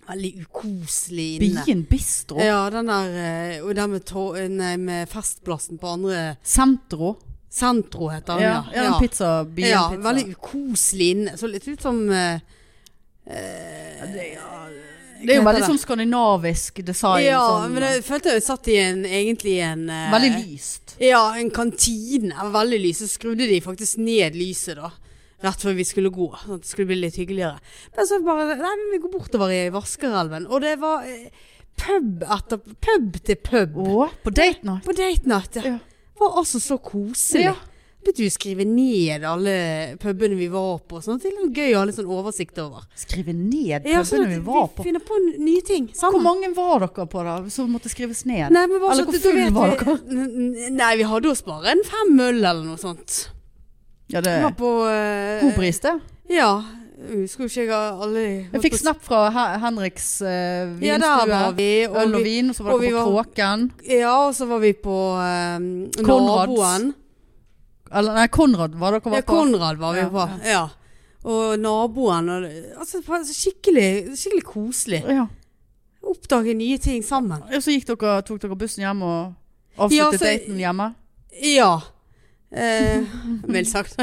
[SPEAKER 2] Veldig ukoselig inne.
[SPEAKER 1] Bien Bistro.
[SPEAKER 2] Ja, den der eh, og den med, to nei, med festplassen på andre
[SPEAKER 1] Sentro.
[SPEAKER 2] Sentro heter den,
[SPEAKER 1] Ja, ja, en pizza. Bien
[SPEAKER 2] ja,
[SPEAKER 1] pizza.
[SPEAKER 2] veldig ukoselig inne. Så litt ut som eh,
[SPEAKER 1] Det er jo
[SPEAKER 2] Hva heter
[SPEAKER 1] veldig
[SPEAKER 2] det?
[SPEAKER 1] sånn skandinavisk design.
[SPEAKER 2] Ja,
[SPEAKER 1] sånn,
[SPEAKER 2] men jeg følte jeg satt i en, egentlig i en eh,
[SPEAKER 1] Veldig lyst.
[SPEAKER 2] Ja, en kantine. Det var Veldig lys. Så skrudde de faktisk ned lyset da. Rett før vi skulle gå. Sånn at det skulle bli litt hyggeligere. Men så bare Nei, men vi går bortover i Vaskerelven. Og det var eh, pub etter pub til pub.
[SPEAKER 1] Å, på date night.
[SPEAKER 2] På date night.
[SPEAKER 1] Ja.
[SPEAKER 2] Ja. Det var altså så koselig.
[SPEAKER 1] Ja.
[SPEAKER 2] Begynte vi å skrive ned alle pubene vi var på. Sånn at det er litt gøy å ha litt sånn oversikt over.
[SPEAKER 1] Skrive ned
[SPEAKER 2] Ja, sånn
[SPEAKER 1] pubene
[SPEAKER 2] at
[SPEAKER 1] vi var på.
[SPEAKER 2] finner på nye ting.
[SPEAKER 1] Hvor
[SPEAKER 2] Sammen.
[SPEAKER 1] mange var dere på da, som måtte skrives ned?
[SPEAKER 2] Nei, men bare
[SPEAKER 1] Eller
[SPEAKER 2] så at
[SPEAKER 1] hvor
[SPEAKER 2] du
[SPEAKER 1] full
[SPEAKER 2] vet
[SPEAKER 1] var
[SPEAKER 2] vi- N- Nei, vi hadde oss bare en fem øl eller noe sånt.
[SPEAKER 1] Ja, det
[SPEAKER 2] Vi var
[SPEAKER 1] er
[SPEAKER 2] på eh,
[SPEAKER 1] god pris, det.
[SPEAKER 2] Ja. Jeg husker jo ikke jeg alle
[SPEAKER 1] Jeg fikk snap fra He- Henriks eh, vinstue.
[SPEAKER 2] Ja, der var vi. Og
[SPEAKER 1] Øl og
[SPEAKER 2] vi
[SPEAKER 1] vin, og så
[SPEAKER 2] og
[SPEAKER 1] var
[SPEAKER 2] vi
[SPEAKER 1] dere på
[SPEAKER 2] var-
[SPEAKER 1] Kråken.
[SPEAKER 2] ja, og så var vi på eh,
[SPEAKER 1] Konrads.
[SPEAKER 2] naboen.
[SPEAKER 1] Eller nei, Konrad var dere
[SPEAKER 2] Ja,
[SPEAKER 1] var på.
[SPEAKER 2] Konrad var vi
[SPEAKER 1] Ja,
[SPEAKER 2] på. Ja. Og naboen. Og, altså, fa- skikkelig, skikkelig koselig.
[SPEAKER 1] Ja.
[SPEAKER 2] Oppdage nye ting sammen.
[SPEAKER 1] Og så gikk dere, tok dere bussen hjem og avsluttet
[SPEAKER 2] Ja, så-
[SPEAKER 1] daten hjemme.
[SPEAKER 2] Ja. Eh, Mildt sagt.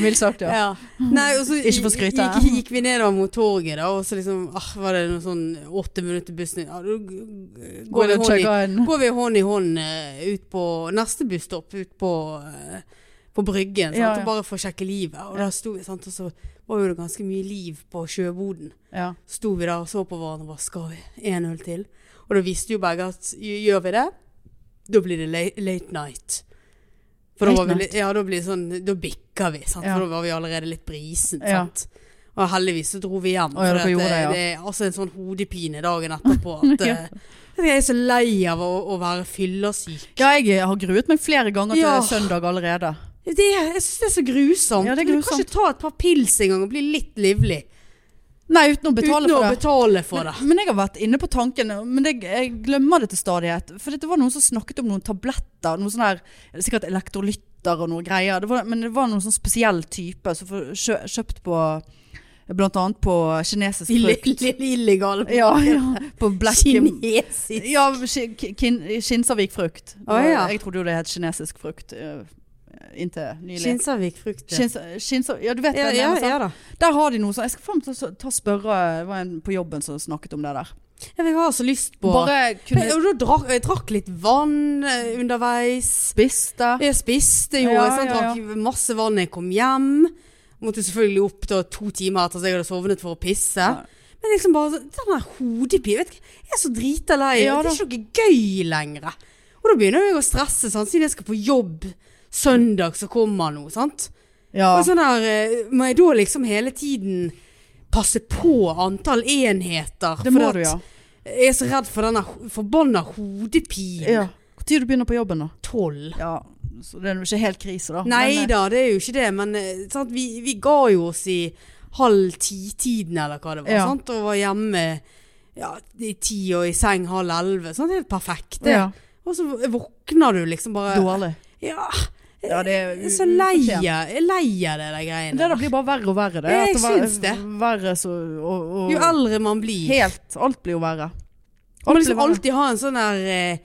[SPEAKER 1] Mildt sagt, ja.
[SPEAKER 2] Ja. Nei, og så
[SPEAKER 1] Ikke for å skryte.
[SPEAKER 2] Gikk, gikk vi nedover mot torget, da, og så liksom ah, var det noe sånn åtte minutter bussen ja, da g- g-
[SPEAKER 1] Går det
[SPEAKER 2] Går vi
[SPEAKER 1] og
[SPEAKER 2] hånd i
[SPEAKER 1] chugger en
[SPEAKER 2] går vi hånd i hånd eh, ut på neste busstopp, ut på, eh, på bryggen, sant?
[SPEAKER 1] Ja, ja.
[SPEAKER 2] og bare for å sjekke livet. Og, der sto, vi, sant? og så var jo det ganske mye liv på sjøboden.
[SPEAKER 1] ja.
[SPEAKER 2] Sto vi der og så på hverandre og bare skal vi en øl til? Og da visste jo begge at gj- gjør vi det, da blir det late, late night. For da,
[SPEAKER 1] Late
[SPEAKER 2] var vi,
[SPEAKER 1] night?
[SPEAKER 2] litt- ja, da, blir det sånn, da bikker vi, sant?
[SPEAKER 1] Ja.
[SPEAKER 2] for da var vi allerede litt brisen.
[SPEAKER 1] Ja.
[SPEAKER 2] Sant? Og heldigvis så dro vi hjem.
[SPEAKER 1] Å, ja,
[SPEAKER 2] for
[SPEAKER 1] dere gjorde det, ja.
[SPEAKER 2] det er altså en sånn hodepine dagen etterpå. At,
[SPEAKER 1] Ja.
[SPEAKER 2] eh, Jeg er så lei av å, å være fyllersyk.
[SPEAKER 1] ja, jeg har gruet meg flere ganger til
[SPEAKER 2] Ja.
[SPEAKER 1] søndag allerede.
[SPEAKER 2] Det, er- jeg syns det er så grusomt.
[SPEAKER 1] Ja, det er
[SPEAKER 2] Du kan ikke ta et par pils engang og bli litt livlig
[SPEAKER 1] Nei, uten å betale
[SPEAKER 2] uten å
[SPEAKER 1] for det.
[SPEAKER 2] betale for det.
[SPEAKER 1] Men jeg har vært inne på tanken, men jeg, jeg glemmer det til stadighet. For det var noen som snakket om noen tabletter, noen sånne her, sikkert elektrolytter og noe greier. Det var, men det var noen sånn spesiell type som får kjø, kjøpt på, blant annet på kinesisk
[SPEAKER 2] Ille-
[SPEAKER 1] frukt.
[SPEAKER 2] ille- Illegale
[SPEAKER 1] Ja, ja, på black...
[SPEAKER 2] kinesisk
[SPEAKER 1] Ja, ki- kin, Kinsarvik frukt. Det var-
[SPEAKER 2] Å, ja.
[SPEAKER 1] Jeg trodde jo det het kinesisk frukt eh, inntil nylig.
[SPEAKER 2] Kinsarvik frukt. ja.
[SPEAKER 1] Kins, Kinsa- ja, du vet
[SPEAKER 2] Ja,
[SPEAKER 1] det.
[SPEAKER 2] ja, ja da.
[SPEAKER 1] Der har de noe sånn. Jeg skal faen meg ta, ta spørre, det var en på jobben som snakket om det der.
[SPEAKER 2] Ja, Jeg har så lyst på
[SPEAKER 1] Bare kunne
[SPEAKER 2] Og da drakk jeg drakk litt vann eh, underveis.
[SPEAKER 1] spiste.
[SPEAKER 2] Jeg spiste jo,
[SPEAKER 1] Ja,
[SPEAKER 2] jeg sant,
[SPEAKER 1] ja, ja.
[SPEAKER 2] drakk masse vann da jeg kom hjem. Måtte selvfølgelig opp da to timer etter at jeg hadde sovnet for å pisse.
[SPEAKER 1] Ja.
[SPEAKER 2] Men liksom bare sånn, den der hodepine vet du hva, Jeg er så drita lei.
[SPEAKER 1] Ja
[SPEAKER 2] det er ikke noe gøy lenger. Og da begynner jeg å stresse, sant? siden jeg skal på jobb søndag, så kommer han noe, sant.
[SPEAKER 1] Ja.
[SPEAKER 2] Og sånn her, eh, må jeg da liksom hele tiden passe på antall enheter?
[SPEAKER 1] Det
[SPEAKER 2] fordi
[SPEAKER 1] må
[SPEAKER 2] at
[SPEAKER 1] du, ja.
[SPEAKER 2] Jeg er så redd for denne ho- forbanna hodepinen.
[SPEAKER 1] ja. Når du begynner på jobben, da?
[SPEAKER 2] 12.
[SPEAKER 1] Ja, så det er jo ikke helt krise, da.
[SPEAKER 2] Nei
[SPEAKER 1] Men, eh,
[SPEAKER 2] da, det er jo ikke det, men eh, sant? Vi, vi ga jo oss i halv ti-tiden eller hva det var,
[SPEAKER 1] Ja.
[SPEAKER 2] sant? og var hjemme ja, i ti og i seng halv elleve. Sånn helt perfekt. det.
[SPEAKER 1] ja,
[SPEAKER 2] Og så våkner du liksom bare
[SPEAKER 1] eh, dårlig.
[SPEAKER 2] Ja,
[SPEAKER 1] Ja, det er
[SPEAKER 2] jeg er Eh, så lei
[SPEAKER 1] ufortjent.
[SPEAKER 2] av jeg er lei av det der
[SPEAKER 1] Men
[SPEAKER 2] greiene.
[SPEAKER 1] Det der
[SPEAKER 2] der.
[SPEAKER 1] blir bare verre og verre. Det.
[SPEAKER 2] Ja,
[SPEAKER 1] At
[SPEAKER 2] jeg
[SPEAKER 1] det var-
[SPEAKER 2] syns det.
[SPEAKER 1] Verre så og, og,
[SPEAKER 2] Jo eldre man blir.
[SPEAKER 1] Helt. Alt blir jo verre.
[SPEAKER 2] Man må
[SPEAKER 1] blir
[SPEAKER 2] liksom
[SPEAKER 1] verre.
[SPEAKER 2] alltid ha en sånn der eh,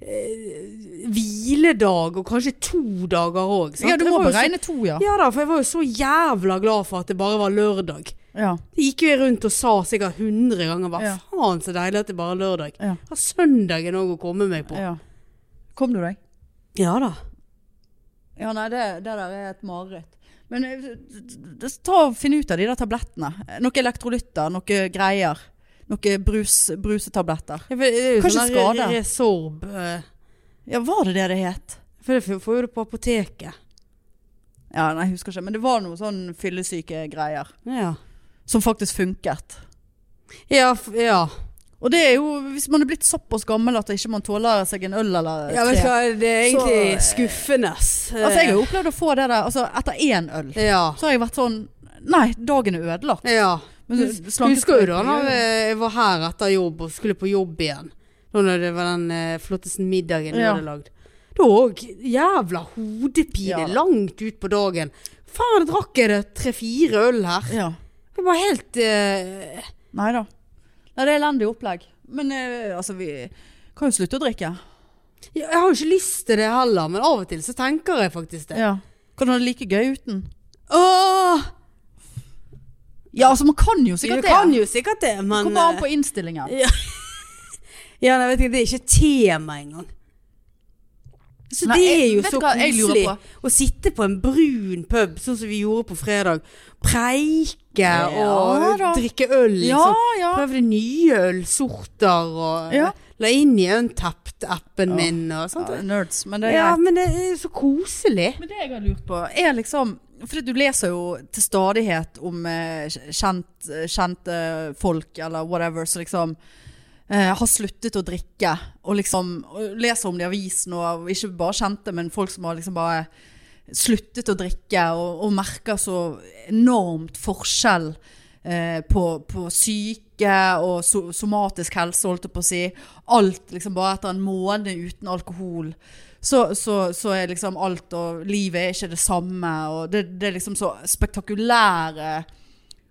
[SPEAKER 2] eh, hviledag, og kanskje to dager òg.
[SPEAKER 1] Ja, du må beregne to, ja.
[SPEAKER 2] Ja da, for jeg var jo så jævla glad for at det bare var lørdag.
[SPEAKER 1] ja.
[SPEAKER 2] Det gikk jo jeg rundt og sa sikkert 100 ganger hva
[SPEAKER 1] Ja.
[SPEAKER 2] faen så deilig at det bare er lørdag.
[SPEAKER 1] Ja.
[SPEAKER 2] Har søndagen òg å komme meg på. Ja,
[SPEAKER 1] ja. Kom du deg?
[SPEAKER 2] da.
[SPEAKER 1] Ja, nei, det, det der er et mareritt. Men eh, det- ta og finn ut av de der tablettene. Noen elektrolytter, noen greier. Noen brus, brusetabletter.
[SPEAKER 2] Ja, for Det er jo
[SPEAKER 1] Kanskje
[SPEAKER 2] sånn der
[SPEAKER 1] skade.
[SPEAKER 2] Resorb. eh,
[SPEAKER 1] Ja, var det det det het?
[SPEAKER 2] For det får jo du på apoteket.
[SPEAKER 1] Ja, nei, jeg husker ikke. Men det var noen sånn fyllesyke greier.
[SPEAKER 2] Ja.
[SPEAKER 1] Som faktisk funket.
[SPEAKER 2] Ja, f ja.
[SPEAKER 1] Og det er jo, hvis man er blitt såpass gammel at ikke man tåler seg en øl eller
[SPEAKER 2] ja eh, vet du hva, det er
[SPEAKER 1] Så,
[SPEAKER 2] egentlig
[SPEAKER 1] eh,
[SPEAKER 2] skuffende.
[SPEAKER 1] Altså, jeg har jo opplevd å få det der, altså etter én øl,
[SPEAKER 2] Ja.
[SPEAKER 1] så har jeg vært sånn, nei, dagen er ødelagt.
[SPEAKER 2] Ja.
[SPEAKER 1] Men
[SPEAKER 2] Hus-
[SPEAKER 1] slanke-
[SPEAKER 2] Husker jo da når jeg eh, var her etter jobb og skulle på jobb igjen. Da når det var den eh, flotteste middagen vi
[SPEAKER 1] Ja.
[SPEAKER 2] hadde lagd. Da òg. Jævla
[SPEAKER 1] Ja.
[SPEAKER 2] hodepine langt ut på dagen. Faen, drakk jeg det tre-fire øl her.
[SPEAKER 1] Ja.
[SPEAKER 2] Det var helt eh,
[SPEAKER 1] Nei da. Nei, det er elendig opplegg. Men eh, altså, vi kan jo slutte å drikke.
[SPEAKER 2] ja, Jeg har jo ikke lyst til det heller, men av og til så tenker jeg faktisk det.
[SPEAKER 1] Ja. Kan du ha det like gøy uten?
[SPEAKER 2] Åh,
[SPEAKER 1] Ja, altså, man kan jo
[SPEAKER 2] du
[SPEAKER 1] sikkert det.
[SPEAKER 2] kan jo sikkert det, men
[SPEAKER 1] Kommer an
[SPEAKER 2] eh,
[SPEAKER 1] på innstillingen.
[SPEAKER 2] ja, nei, vet ikke, Det er ikke tema engang. Så
[SPEAKER 1] Nei,
[SPEAKER 2] det er
[SPEAKER 1] jeg-
[SPEAKER 2] jo
[SPEAKER 1] vet
[SPEAKER 2] så
[SPEAKER 1] du hva jeg lurer
[SPEAKER 2] koselig
[SPEAKER 1] på?
[SPEAKER 2] å sitte på en brun pub, sånn som vi gjorde på fredag. Preike og
[SPEAKER 1] da.
[SPEAKER 2] drikke øl,
[SPEAKER 1] Ja,
[SPEAKER 2] liksom.
[SPEAKER 1] ja.
[SPEAKER 2] Prøvde nye ølsorter og
[SPEAKER 1] Ja.
[SPEAKER 2] la inn i Untapped-appen
[SPEAKER 1] Ja.
[SPEAKER 2] min og sånt.
[SPEAKER 1] Ja, nerds, men det er
[SPEAKER 2] Ja,
[SPEAKER 1] greit.
[SPEAKER 2] men det er så koselig.
[SPEAKER 1] Men det jeg har lurt på, er liksom For du leser jo til stadighet om eh, kjent, kjente folk eller whatever som liksom eh, har sluttet å drikke. Og liksom og leser om det i avisen, og ikke bare kjente, men folk som har liksom bare sluttet å drikke og, og merker så enormt forskjell eh, på, på syke og so somatisk helse, holdt jeg på å si. Alt liksom bare etter en måned uten alkohol. Så, så, så er liksom alt, og livet er ikke det samme, og det, det er liksom så spektakulære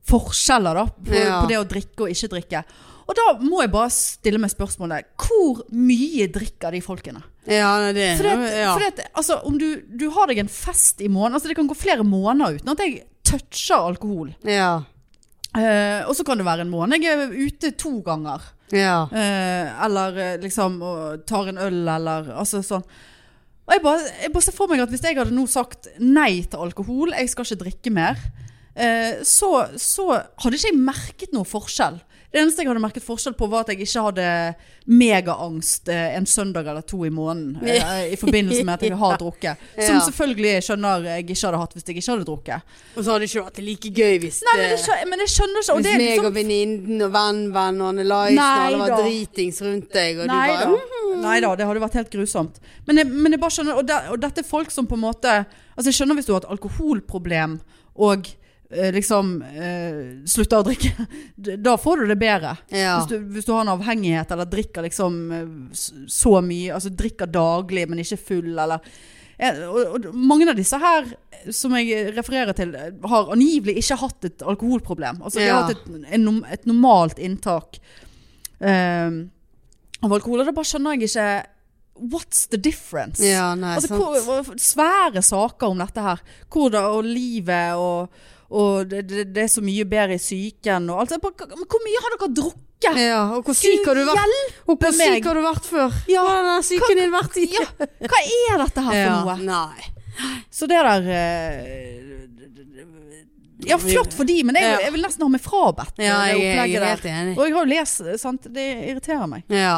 [SPEAKER 1] forskjeller da, på,
[SPEAKER 2] Ja.
[SPEAKER 1] på det å drikke og ikke drikke. Og da må jeg bare stille meg spørsmålet, hvor mye drikker de folkene?
[SPEAKER 2] Ja, nei, det
[SPEAKER 1] For, det,
[SPEAKER 2] ja.
[SPEAKER 1] for det, altså, om du, du har deg en fest i måneden Altså det kan gå flere måneder uten at jeg toucher alkohol
[SPEAKER 2] ja.
[SPEAKER 1] eh, Og så kan det være en måned Jeg er ute to ganger
[SPEAKER 2] ja.
[SPEAKER 1] eh, Eller eh, liksom og Tar en øl eller altså, sånn. Og jeg bare, jeg bare ser for meg at hvis jeg hadde nå sagt Nei til alkohol, jeg skal ikke drikke mer eh, så, så hadde ikke jeg merket noe forskjell Det eneste jeg hadde merket forskjell på Var at jeg ikke hadde megaangst eh, En søndag eller to i måneden eh, I forbindelse med at jeg har drukket Som
[SPEAKER 2] Ja.
[SPEAKER 1] selvfølgelig jeg skjønner jeg ikke hadde hatt Hvis jeg ikke hadde drukket
[SPEAKER 2] Og så hadde det ikke vært like gøy hvis
[SPEAKER 1] Nei, men jeg skjønner, men jeg skjønner ikke og
[SPEAKER 2] Hvis
[SPEAKER 1] det er
[SPEAKER 2] meg
[SPEAKER 1] liksom-
[SPEAKER 2] og venninnen og venn-venn og Annelise og
[SPEAKER 1] Nei
[SPEAKER 2] alle var
[SPEAKER 1] da.
[SPEAKER 2] dritings rundt deg, og
[SPEAKER 1] Nei
[SPEAKER 2] du bare
[SPEAKER 1] da. Nei da, det hadde vært helt grusomt. Men jeg, men jeg bare skjønner og, det- og dette er folk som på en måte Altså Jeg skjønner hvis du har et alkoholproblem og eh, liksom eh, slutter å drikke. D- Da får du det bedre.
[SPEAKER 2] Ja.
[SPEAKER 1] Hvis, du, hvis du har en avhengighet eller drikker liksom eh, s- så mye, altså drikker daglig, men ikke full, eller Eh, og, og mange av disse her eh, som jeg refererer til, eh, har angivelig ikke hatt et alkoholproblem. Altså de
[SPEAKER 2] Ja.
[SPEAKER 1] har hatt et, en, nom- et normalt inntak eh, av alkohol. Og da bare skjønner jeg ikke What's the difference?
[SPEAKER 2] Ja, nei,
[SPEAKER 1] altså,
[SPEAKER 2] sant.
[SPEAKER 1] hvor, hvor- svære saker om dette her. Hvordan og livet og, og det, det, det er så mye bedre i psyken og alt. Jeg bare, Men hvor mye har dere drukket?
[SPEAKER 2] Ja, og hvor Eh, syk har du vært, og hvor
[SPEAKER 1] meg.
[SPEAKER 2] syk har du vært før? Ja, Hva har den syken din vært i?
[SPEAKER 1] Ja, hva er dette her for noe?
[SPEAKER 2] Nei.
[SPEAKER 1] Så det der eh, Ja, flott for de, men jeg,
[SPEAKER 2] Ja.
[SPEAKER 1] jeg vil nesten ha meg frabedt
[SPEAKER 2] Ja,
[SPEAKER 1] det
[SPEAKER 2] jeg, jeg
[SPEAKER 1] opplegget
[SPEAKER 2] er
[SPEAKER 1] der.
[SPEAKER 2] helt enig.
[SPEAKER 1] Og jeg har jo lest, sant. Det irriterer meg.
[SPEAKER 2] Ja.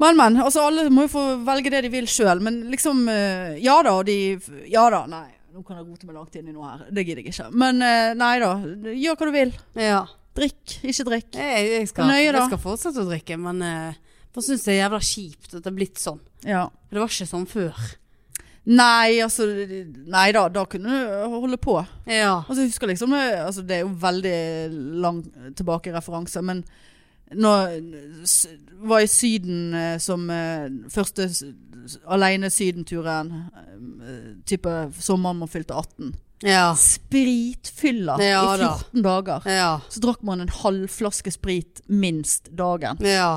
[SPEAKER 1] Men, men. Altså, alle må jo få velge det de vil sjøl. Men liksom eh, Ja da, og de Ja da, nei. Nå kan jeg rote meg langt inn i noe her. Det gidder jeg ikke. Men eh, nei da. Gjør hva du vil.
[SPEAKER 2] Ja.
[SPEAKER 1] Drikk, ikke drikk.
[SPEAKER 2] Jeg, jeg, skal,
[SPEAKER 1] Nøye, da.
[SPEAKER 2] jeg skal fortsette å drikke, men eh, bare syns det er jævla kjipt at det er blitt sånn.
[SPEAKER 1] Ja.
[SPEAKER 2] For Det var ikke sånn før.
[SPEAKER 1] Nei, altså Nei da, da kunne du eh, holde på.
[SPEAKER 2] Ja.
[SPEAKER 1] Altså, jeg husker liksom, eh, altså, det er jo veldig lang tilbake referanse, men når s- var i Syden eh, som eh, første s- s- alene Sydenturen, eh, type sommeren man fylte 18.
[SPEAKER 2] Ja.
[SPEAKER 1] Spritfylla
[SPEAKER 2] Ja,
[SPEAKER 1] i
[SPEAKER 2] da.
[SPEAKER 1] 14 dager.
[SPEAKER 2] Ja.
[SPEAKER 1] Så drakk man en halv flaske sprit minst dagen.
[SPEAKER 2] ja.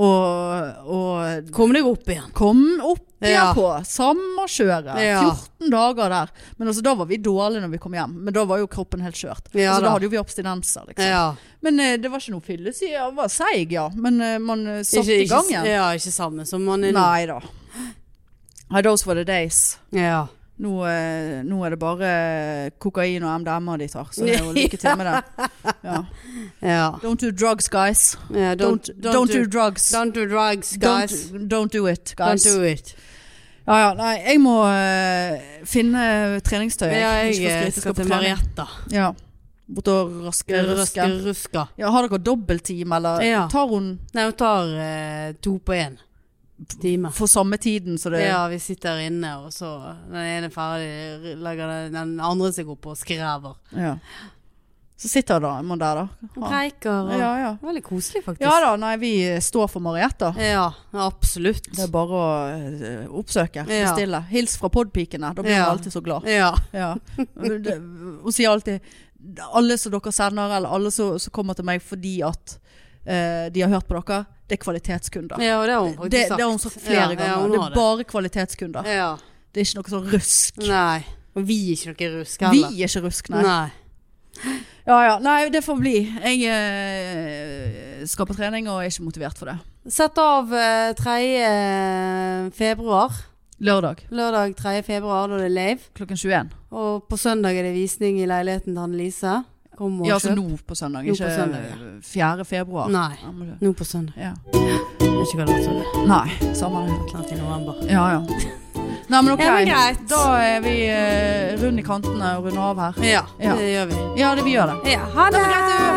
[SPEAKER 1] Og, og
[SPEAKER 2] Kom deg opp igjen.
[SPEAKER 1] kom opp igjen
[SPEAKER 2] Ja.
[SPEAKER 1] på samme kjøret.
[SPEAKER 2] Ja.
[SPEAKER 1] 14 dager der. Men altså, da var vi dårlige når vi kom hjem. Men da var jo kroppen helt skjørt.
[SPEAKER 2] Ja,
[SPEAKER 1] altså, da
[SPEAKER 2] da.
[SPEAKER 1] hadde jo vi abstinenser, liksom.
[SPEAKER 2] Ja.
[SPEAKER 1] Men eh, det var ikke noe fyllesyke. Jeg var seig, ja. Men eh, man eh, satt i gang igjen.
[SPEAKER 2] Ja, ikke sammen som man er nå.
[SPEAKER 1] Nei da. Nei, Those were the days.
[SPEAKER 2] Ja.
[SPEAKER 1] Nå, eh, nå er det bare kokain og MDMA de tar, så det er jo lykke til med det. Ja.
[SPEAKER 2] ja.
[SPEAKER 1] Don't do drugs, guys.
[SPEAKER 2] ja
[SPEAKER 1] Don't, don't, do, drugs.
[SPEAKER 2] don't do drugs, guys. Don't,
[SPEAKER 1] Don't, don't do it, guys.
[SPEAKER 2] do it.
[SPEAKER 1] Ja, ja, nei, jeg må øh, finne treningstøy.
[SPEAKER 2] Ja, jeg,
[SPEAKER 1] Ikke for å skryte,
[SPEAKER 2] eh, skal til
[SPEAKER 1] trening.
[SPEAKER 2] Marietta.
[SPEAKER 1] Ja. Bort og raske
[SPEAKER 2] Ruske,
[SPEAKER 1] ruske.
[SPEAKER 2] ruska.
[SPEAKER 1] Ja, har dere dobbelttime, eller
[SPEAKER 2] Ja.
[SPEAKER 1] tar hun
[SPEAKER 2] Nei, hun tar eh, to på én time.
[SPEAKER 1] for samme tiden så det
[SPEAKER 2] Ja, vi sitter inne, og så den ene er ferdig, legger den, den andre seg opp og skrever.
[SPEAKER 1] Ja. Så sitter da man der, da.
[SPEAKER 2] Og preiker. Og,
[SPEAKER 1] Ja, ja.
[SPEAKER 2] Veldig koselig, faktisk.
[SPEAKER 1] ja da, nei, vi står for Marietta.
[SPEAKER 2] Ja, absolutt.
[SPEAKER 1] Det er bare å øh, oppsøke,
[SPEAKER 2] Ja.
[SPEAKER 1] bestille. Hils fra podpikene, da blir
[SPEAKER 2] Ja.
[SPEAKER 1] hun alltid så glad.
[SPEAKER 2] Ja.
[SPEAKER 1] Ja. Det- Hun sier alltid Alle som dere sender, eller alle som, som kommer til meg fordi at eh, de har hørt på dere, det er kvalitetskunder.
[SPEAKER 2] ja, og det har hun
[SPEAKER 1] Det,
[SPEAKER 2] faktisk
[SPEAKER 1] det
[SPEAKER 2] sagt.
[SPEAKER 1] har hun sagt flere
[SPEAKER 2] ja,
[SPEAKER 1] ganger.
[SPEAKER 2] Ja, hun
[SPEAKER 1] det
[SPEAKER 2] har
[SPEAKER 1] er bare kvalitetskunder.
[SPEAKER 2] det. Ja.
[SPEAKER 1] Det er ikke noe sånn rusk.
[SPEAKER 2] Nei. Og vi er ikke noe rusk
[SPEAKER 1] Vi
[SPEAKER 2] heller.
[SPEAKER 1] er ikke rusk, nei.
[SPEAKER 2] Nei.
[SPEAKER 1] Ja, ja, nei, det får bli. Jeg eh, skal på trening og er ikke motivert for det.
[SPEAKER 2] Sett av eh, 3. februar.
[SPEAKER 1] Lørdag
[SPEAKER 2] Lørdag 3. februar, da er det live.
[SPEAKER 1] klokken 21.
[SPEAKER 2] Og på søndag er det visning i leiligheten til Annelise. Kom og
[SPEAKER 1] Ja, altså
[SPEAKER 2] kjøp.
[SPEAKER 1] nå på søndag,
[SPEAKER 2] Nå på
[SPEAKER 1] ikke
[SPEAKER 2] søndag, ja.
[SPEAKER 1] 4. februar.
[SPEAKER 2] Nei.
[SPEAKER 1] Ja, men det-
[SPEAKER 2] Nå på søndag.
[SPEAKER 1] Ja.
[SPEAKER 2] Jeg vet ikke hva det var sånn.
[SPEAKER 1] Nei, samme det.
[SPEAKER 2] Klart i november.
[SPEAKER 1] Ja, ja. Nei, men ok.
[SPEAKER 2] Ja, men greit.
[SPEAKER 1] Da er vi eh, rundt i kantene og runder av her.
[SPEAKER 2] Ja,
[SPEAKER 1] Ja.
[SPEAKER 2] det gjør vi.
[SPEAKER 1] Ja, det vi gjør det.
[SPEAKER 2] Ja, ha det!
[SPEAKER 1] greit, du.